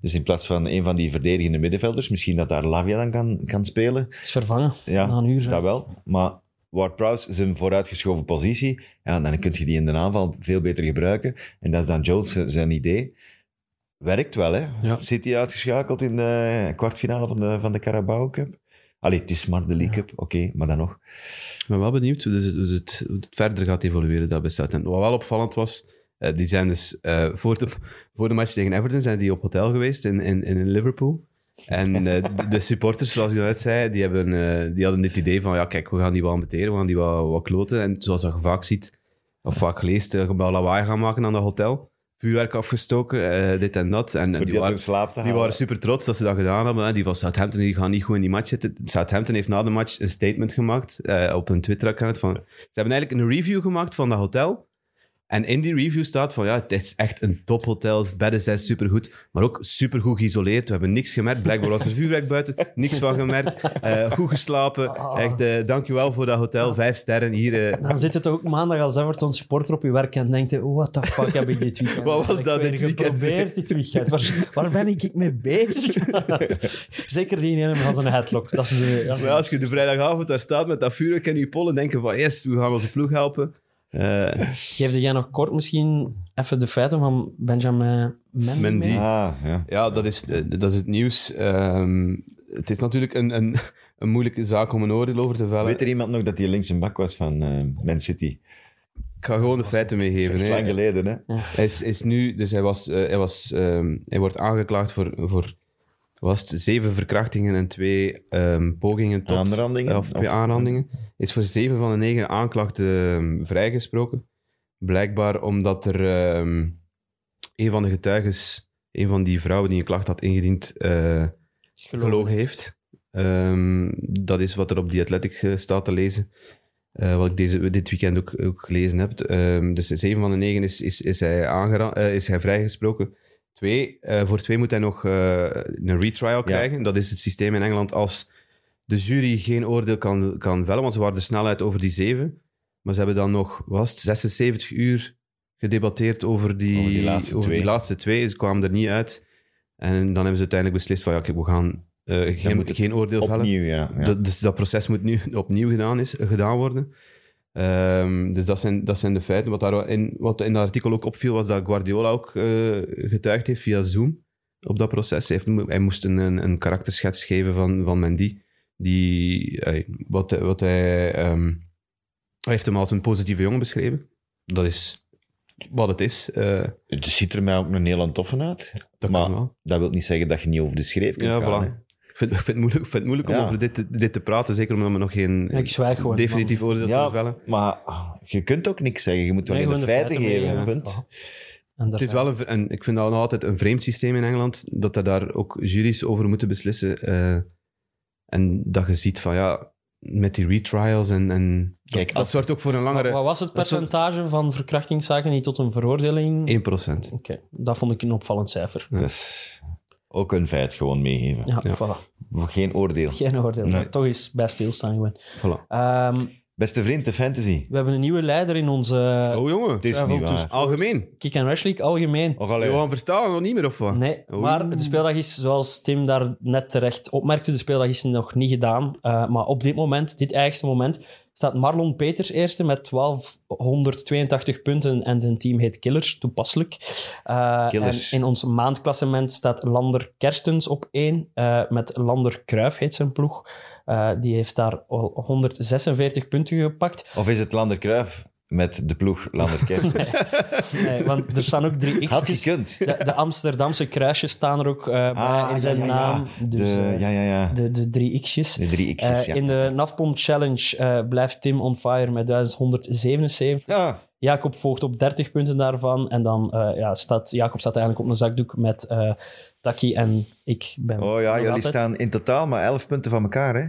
Speaker 2: Dus in plaats van een van die verdedigende middenvelders, misschien dat daar Lavia dan kan, kan spelen.
Speaker 4: is vervangen.
Speaker 2: Ja,
Speaker 4: Na een uur, zeg.
Speaker 2: dat wel. Maar Ward-Prowse is een vooruitgeschoven positie. Ja, en dan kun je die in de aanval veel beter gebruiken. En dat is dan Jones z- zijn idee. Werkt wel, hè?
Speaker 3: Ja.
Speaker 2: City uitgeschakeld in de kwartfinale van de, van de Carabao Cup. Allee, het is maar de League Cup, oké, maar dan nog.
Speaker 3: Ik ben wel benieuwd hoe dus het, hoe het, hoe het verder gaat evolueren daar bij Southampton. Wat wel opvallend was, eh, die zijn dus eh, voor, de, voor de match tegen Everton zijn die op hotel geweest in, in, in Liverpool. En eh, de, de supporters, zoals ik net zei, die, hebben, eh, die hadden dit idee van, ja kijk, we gaan die wel amputeren, we gaan die wel, wat kloten. En zoals dat je vaak ziet, of vaak leest, eh, je wel lawaai gaan maken aan dat hotel. Vuurwerk afgestoken, eh, dit en dat. En, en
Speaker 2: Voor die
Speaker 3: die
Speaker 2: uit
Speaker 3: waren,
Speaker 2: hun slaap te
Speaker 3: die
Speaker 2: halen.
Speaker 3: waren super trots dat ze dat gedaan hebben. hè. Die van Southampton die gaan niet goed in die match zitten. Southampton heeft na de match een statement gemaakt eh, op hun Twitter-account. van- Ze hebben eigenlijk een review gemaakt van dat hotel. En in die review staat van ja, het is echt een tophotel. Bedden zijn supergoed, maar ook supergoed geïsoleerd. We hebben niks gemerkt. Blijkbaar was er vuurwerk buiten, niks van gemerkt. Eh, goed geslapen. Echt, eh dankjewel voor dat hotel. Vijf sterren hier. eh.
Speaker 4: Dan zit het ook maandag als Everton supporter op je werk en denkt je, what the fuck heb ik dit weekend?
Speaker 3: Wat was dat
Speaker 4: weer
Speaker 3: dit weekend
Speaker 4: geprobeerd dit weekend? Waar, waar ben ik mee bezig? Zeker die ene van zijn headlock. Dat is de, dat is de-
Speaker 3: Maar als je de vrijdagavond daar staat met dat vuurwerk in je pollen, denken van yes, we gaan onze ploeg helpen. Eh,
Speaker 4: Geefde jij nog kort misschien even de feiten van Benjamin Mendy?
Speaker 3: Mendy.
Speaker 4: mee?
Speaker 2: Ah, ja.
Speaker 3: Ja, dat is, eh, dat is het nieuws. Ehm, het is natuurlijk een, een, een moeilijke zaak om een oordeel over te vellen.
Speaker 2: Weet er iemand nog dat hij links een bak was van eh, Man City?
Speaker 3: Ik ga gewoon de feiten
Speaker 2: Dat
Speaker 3: meegeven.
Speaker 2: is echt lang
Speaker 3: hè.
Speaker 2: geleden, hè?
Speaker 3: Hij is, is nu, dus hij, was, eh, hij, was, ehm, hij wordt aangeklaagd voor, voor was het zeven verkrachtingen en twee ehm, pogingen tot...
Speaker 2: Aanrandingen?
Speaker 3: eh, Of twee
Speaker 2: Of-
Speaker 3: aanrandingen. Hij is voor zeven van de negen aanklachten ehm, vrijgesproken. Blijkbaar omdat er ehm, een van de getuigen, een van die vrouwen die een klacht had ingediend, eh, gelogen, heeft. Ehm, dat is wat er op die Athletic eh, staat te lezen. Eh, wat ik deze, dit weekend ook, ook gelezen heb. Ehm, dus 7 van de 9 is, is, is, hij aangera- eh, is hij vrijgesproken. Twee, eh, voor twee moet hij nog eh, een retrial krijgen. Dat is het systeem in Engeland als de jury geen oordeel kan, kan vellen, want ze waren er snel uit over die zeven. Maar ze hebben dan nog, was het, 76 uur gedebatteerd over die,
Speaker 2: Over die laatste
Speaker 3: over die
Speaker 2: twee.
Speaker 3: laatste twee. Ze kwamen er niet uit. En dan hebben ze uiteindelijk beslist van, ja, kijk, we gaan eh,
Speaker 2: moet
Speaker 3: geen,
Speaker 2: het
Speaker 3: geen oordeel vellen.
Speaker 2: Opnieuw, ja. ja.
Speaker 3: Dat, dus dat proces moet nu opnieuw gedaan, is, gedaan worden. Ehm, dus dat zijn, dat zijn de feiten. Wat, daar in, wat in dat artikel ook opviel, was dat Guardiola ook eh, getuigd heeft via Zoom op dat proces. Hij, heeft, mo- hij moest een, een, een karakterschets geven van, van Mendy. Die, eh, wat, wat hij, ehm, hij heeft hem als een positieve jongen beschreven. Dat is wat het is. Eh,
Speaker 2: Het ziet er mij ook nog heel aan toffen uit.
Speaker 3: dat
Speaker 2: maar
Speaker 3: kan wel.
Speaker 2: dat wil niet zeggen dat je niet over de schreef kunt
Speaker 3: Ja,
Speaker 2: gaan.
Speaker 3: voilà.
Speaker 2: hè.
Speaker 3: Ik vind, ik vind het moeilijk, ik vind het moeilijk om
Speaker 2: Ja.
Speaker 3: over dit, te- dit te praten, zeker omdat we nog geen
Speaker 4: Ja, ik zwijg gewoon.
Speaker 3: definitief oordeel
Speaker 2: Ja.
Speaker 3: te vellen.
Speaker 2: Maar je kunt ook niks zeggen. Je moet
Speaker 4: Nee,
Speaker 2: alleen de
Speaker 4: gewoon de
Speaker 2: feiten
Speaker 4: feiten
Speaker 2: geven.
Speaker 4: meegeven.
Speaker 2: punt.
Speaker 4: En
Speaker 3: Het is wel een, v- en ik vind dat nog altijd een vreemd systeem in Engeland, dat er daar ook juries over moeten beslissen. eh, en dat je ziet van ja, met die retrials en, en
Speaker 2: Kijk,
Speaker 3: dat,
Speaker 2: als-
Speaker 3: dat zorgt ook voor een
Speaker 4: Wat
Speaker 3: langere
Speaker 4: was het
Speaker 3: dat is een-
Speaker 4: percentage van verkrachtingszaken die tot een veroordeling...
Speaker 3: 1%.
Speaker 4: Oké, dat vond ik een opvallend cijfer.
Speaker 3: Ja.
Speaker 2: Dus ook een feit gewoon meegeven.
Speaker 4: Ja,
Speaker 3: Ja.
Speaker 4: voilà.
Speaker 2: Geen oordeel.
Speaker 4: Geen oordeel.
Speaker 2: Nee.
Speaker 4: Toch eens bij stilstaan gewoon.
Speaker 3: Voilà.
Speaker 4: Ehm,
Speaker 2: Beste vriend, de fantasy.
Speaker 4: we hebben een nieuwe leider in onze
Speaker 3: Oh jongen,
Speaker 2: Het is
Speaker 4: Travel
Speaker 2: niet
Speaker 4: to
Speaker 2: waar.
Speaker 3: algemeen.
Speaker 4: Kick and Rush League algemeen.
Speaker 2: Och, allee.
Speaker 3: Johan Verstaan nog niet meer of
Speaker 2: Oh.
Speaker 3: wat?
Speaker 4: Nee,
Speaker 3: Oei.
Speaker 4: maar de speeldag is, zoals Tim daar net terecht opmerkte, de speeldag is nog niet gedaan. Eh, maar op dit moment, dit eigenste moment, staat Marlon Peters eerste met 1282 punten en zijn team heet Killers, toepasselijk. Eh,
Speaker 2: Killers.
Speaker 4: En in ons maandklassement staat Lander Kerstens op één, eh, met Lander Kruif heet zijn ploeg. Eh, die heeft daar al 146 punten gepakt.
Speaker 2: Of is het Lander Cruijff met de ploeg Lander Kerstens?
Speaker 4: Eh, want er staan ook drie
Speaker 2: Had
Speaker 4: X's.
Speaker 2: gekund.
Speaker 4: De, de Amsterdamse kruisjes staan er ook eh, bij
Speaker 2: Ah,
Speaker 4: in
Speaker 2: ja,
Speaker 4: zijn
Speaker 2: ja, ja.
Speaker 4: naam. Dus,
Speaker 2: de,
Speaker 4: eh,
Speaker 2: ja, ja, ja.
Speaker 4: de, de drie X'jes.
Speaker 2: De drie X's,
Speaker 4: Eh,
Speaker 2: ja.
Speaker 4: In de NAFPOM Challenge eh, blijft Tim on fire met 1177.
Speaker 2: Ja,
Speaker 4: Jacob volgt op 30 punten daarvan. En dan eh, ja, staat Jacob staat eigenlijk op een zakdoek met eh Taki en ik ben.
Speaker 2: oh ja,
Speaker 4: nog
Speaker 2: jullie
Speaker 4: altijd.
Speaker 2: staan in totaal maar 11 punten van elkaar, hè?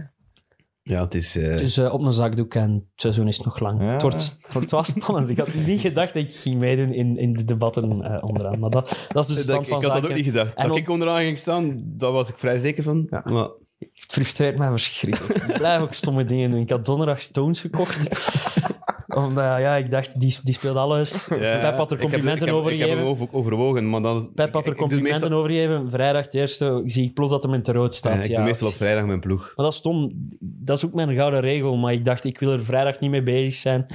Speaker 3: Ja, het is... eh,
Speaker 4: Dus eh, op een zakdoek en het seizoen is nog lang.
Speaker 2: Ja.
Speaker 4: Het, wordt, het wordt wel spannend. Ik had niet gedacht dat ik ging meedoen in, in de debatten eh, onderaan. Maar dat, dat is dus de
Speaker 3: dat,
Speaker 4: stand
Speaker 3: ik
Speaker 4: van
Speaker 3: had dat ook
Speaker 4: zaken.
Speaker 3: niet gedacht.
Speaker 4: En
Speaker 3: dat
Speaker 4: op-
Speaker 3: ik onderaan ging staan, daar was ik vrij zeker van. Maar
Speaker 4: Het frustreert mij verschrikkelijk. Ik blijf ook stomme dingen doen. Ik had donderdag Stones gekocht. Omdat, ja, ik dacht, die, die speelt alles.
Speaker 3: ja,
Speaker 4: Pep
Speaker 3: ik
Speaker 4: had er
Speaker 3: heb- ik
Speaker 4: complimenten
Speaker 3: heb-
Speaker 4: over
Speaker 3: Ik heb hem
Speaker 4: gegeven.
Speaker 3: over- overwogen, maar dan...
Speaker 4: Pep had er
Speaker 3: ik- ik doe
Speaker 4: complimenten
Speaker 3: meestal-
Speaker 4: over gegeven. Vrijdag de eerste zie ik plots dat hem in het rood
Speaker 3: Ja,
Speaker 4: staat.
Speaker 3: ik
Speaker 4: Ja,
Speaker 3: doe meestal op vrijdag mijn ploeg.
Speaker 4: Maar dat is stom. Dat is ook mijn gouden regel. Maar ik dacht, ik wil er vrijdag niet mee bezig zijn. Ik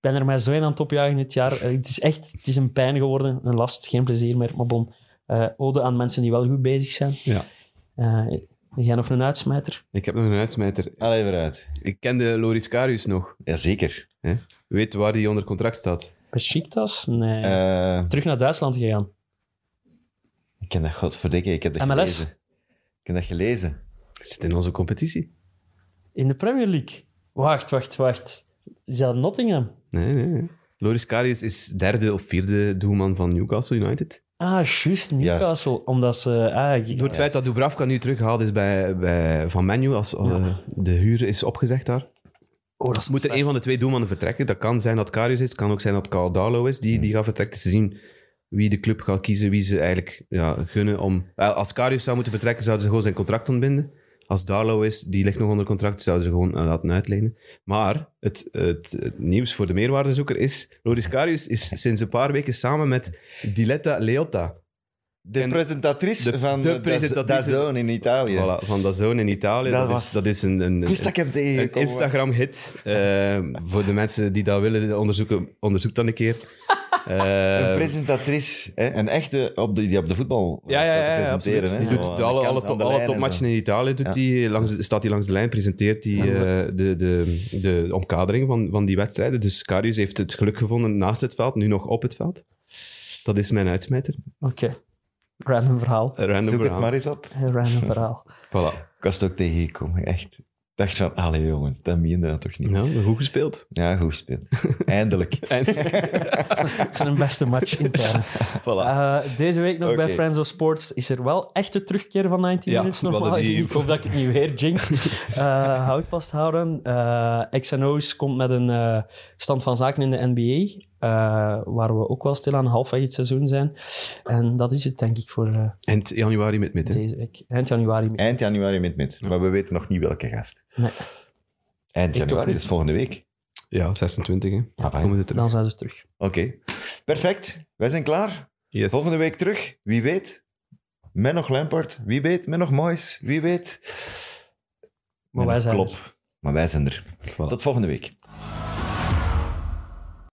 Speaker 4: ben er mij zo in aan het opjagen dit jaar. Eh, Het is echt het is een pijn geworden. Een last, geen plezier meer. Maar bon, eh, ode aan mensen die wel goed bezig zijn.
Speaker 3: Ja.
Speaker 4: Eh, jij nog een uitsmijter?
Speaker 3: Ik heb nog een uitsmijter.
Speaker 2: Allee, vooruit.
Speaker 3: Ik kende Loris Karius nog.
Speaker 2: Jazeker.
Speaker 3: Weet waar hij onder contract staat.
Speaker 4: Besiktas? Nee.
Speaker 2: Eh
Speaker 4: Terug naar Duitsland gegaan.
Speaker 2: ik ken dat godverdikke, ik heb dat
Speaker 4: MLS?
Speaker 2: gelezen. Ik heb dat gelezen.
Speaker 3: Zit in onze competitie.
Speaker 4: In de Premier League. Wacht, wacht, wacht. Is dat Nottingham?
Speaker 3: Nee, nee, nee. Loris Karius is derde of vierde doelman van Newcastle United.
Speaker 4: Ah, juist, Newcastle. Omdat ze... Ah,
Speaker 3: Door het feit dat Dubravka nu teruggehaald is bij, bij Van Menu, als eh, de huur is opgezegd daar.
Speaker 4: oh, dat is
Speaker 3: Moet er een van de twee doelmannen vertrekken? Dat kan zijn dat Karius is, het kan ook zijn dat Caldalo is die,
Speaker 2: Hmm.
Speaker 3: die gaat vertrekken. Het is te zien wie de club gaat kiezen, wie ze eigenlijk ja, gunnen om... Wel, Als Karius zou moeten vertrekken, zouden ze gewoon zijn contract ontbinden. Als Darlow is, die ligt nog onder contract, zouden ze gewoon eh, laten uitlenen. Maar het, het, het nieuws voor de meerwaardezoeker is... Loris Karius is sinds een paar weken samen met Diletta Leotta.
Speaker 2: De
Speaker 3: En
Speaker 2: presentatrice
Speaker 3: de-
Speaker 2: van
Speaker 3: de
Speaker 2: de
Speaker 3: presentatrice-
Speaker 2: Dazone in Italië.
Speaker 3: Voilà, van Dazone in Italië.
Speaker 2: Dat
Speaker 3: Dat,
Speaker 2: was-
Speaker 3: is, dat is een... een
Speaker 2: Ik wist dat ik hem
Speaker 3: Een
Speaker 2: tegengekomen was.
Speaker 3: Instagram-hit. eh, voor de mensen die dat willen onderzoeken, onderzoek dan een keer.
Speaker 2: Een
Speaker 3: Eh,
Speaker 2: presentatrice, hè, een echte, op de, die op de voetbal
Speaker 3: ja, ja,
Speaker 2: staat te
Speaker 3: ja, ja,
Speaker 2: presenteren.
Speaker 3: absoluut.
Speaker 2: hè.
Speaker 3: Die
Speaker 2: Zo
Speaker 3: doet
Speaker 2: aan
Speaker 3: de
Speaker 2: de
Speaker 3: alle,
Speaker 2: kant,
Speaker 3: alle,
Speaker 2: aan
Speaker 3: top-
Speaker 2: de
Speaker 3: alle
Speaker 2: lijn en
Speaker 3: topmatchen
Speaker 2: zo.
Speaker 3: in Italië. Doet
Speaker 2: Ja.
Speaker 3: die langs, staat hij langs de lijn, presenteert hij de, de, de omkadering van, van die wedstrijden. Dus Karius heeft het geluk gevonden naast het veld, nu nog op het veld. Dat is mijn uitsmijter.
Speaker 4: Oké. Random verhaal.
Speaker 3: Een Random
Speaker 2: Zoek het
Speaker 3: verhaal.
Speaker 2: maar eens op.
Speaker 4: Een Random verhaal.
Speaker 3: Voilà.
Speaker 2: Ik was het ook tegengekomen, echt. Ik dacht van, allee jongen, dat meende dat toch niet.
Speaker 3: Ja, goed gespeeld.
Speaker 2: Ja, goed gespeeld. Eindelijk.
Speaker 3: En,
Speaker 4: Het is een beste match intern.
Speaker 3: voilà.
Speaker 4: Eh, deze week nog
Speaker 2: Oké.
Speaker 4: bij Friends of Sports is er wel echt de terugkeer van 19
Speaker 3: Ja,
Speaker 4: Minutes.
Speaker 3: we hadden
Speaker 4: Normaal gezien.
Speaker 3: die-
Speaker 4: Ik hoop dat ik het niet weer jinx. Eh, houd vasthouden. Eh XNO's komt met een eh, stand van zaken in de NBA. eh, waar we ook wel stilaan halfweg het seizoen zijn. En dat is het denk ik voor eh,
Speaker 3: En t- januari met midden.
Speaker 4: deze week. Eind januari.
Speaker 2: Eind januari met mid. Maar we weten nog niet welke gast.
Speaker 4: Nee.
Speaker 2: Eind
Speaker 4: Ik toch
Speaker 2: januari, dat
Speaker 4: niet.
Speaker 2: is volgende week.
Speaker 3: Ja, 26. Hè.
Speaker 2: Amai.
Speaker 3: Komen ze terug.
Speaker 4: Dan zijn ze terug.
Speaker 2: Oké. Perfect. Wij zijn klaar.
Speaker 3: Yes.
Speaker 2: Volgende week terug. Wie weet. Met nog Lampard. Wie weet. Met nog Moyes. Wie weet.
Speaker 4: Maar
Speaker 2: Met
Speaker 4: wij
Speaker 2: nog
Speaker 4: zijn
Speaker 2: Klopp. Maar wij zijn er.
Speaker 3: Voilà.
Speaker 2: Tot volgende week.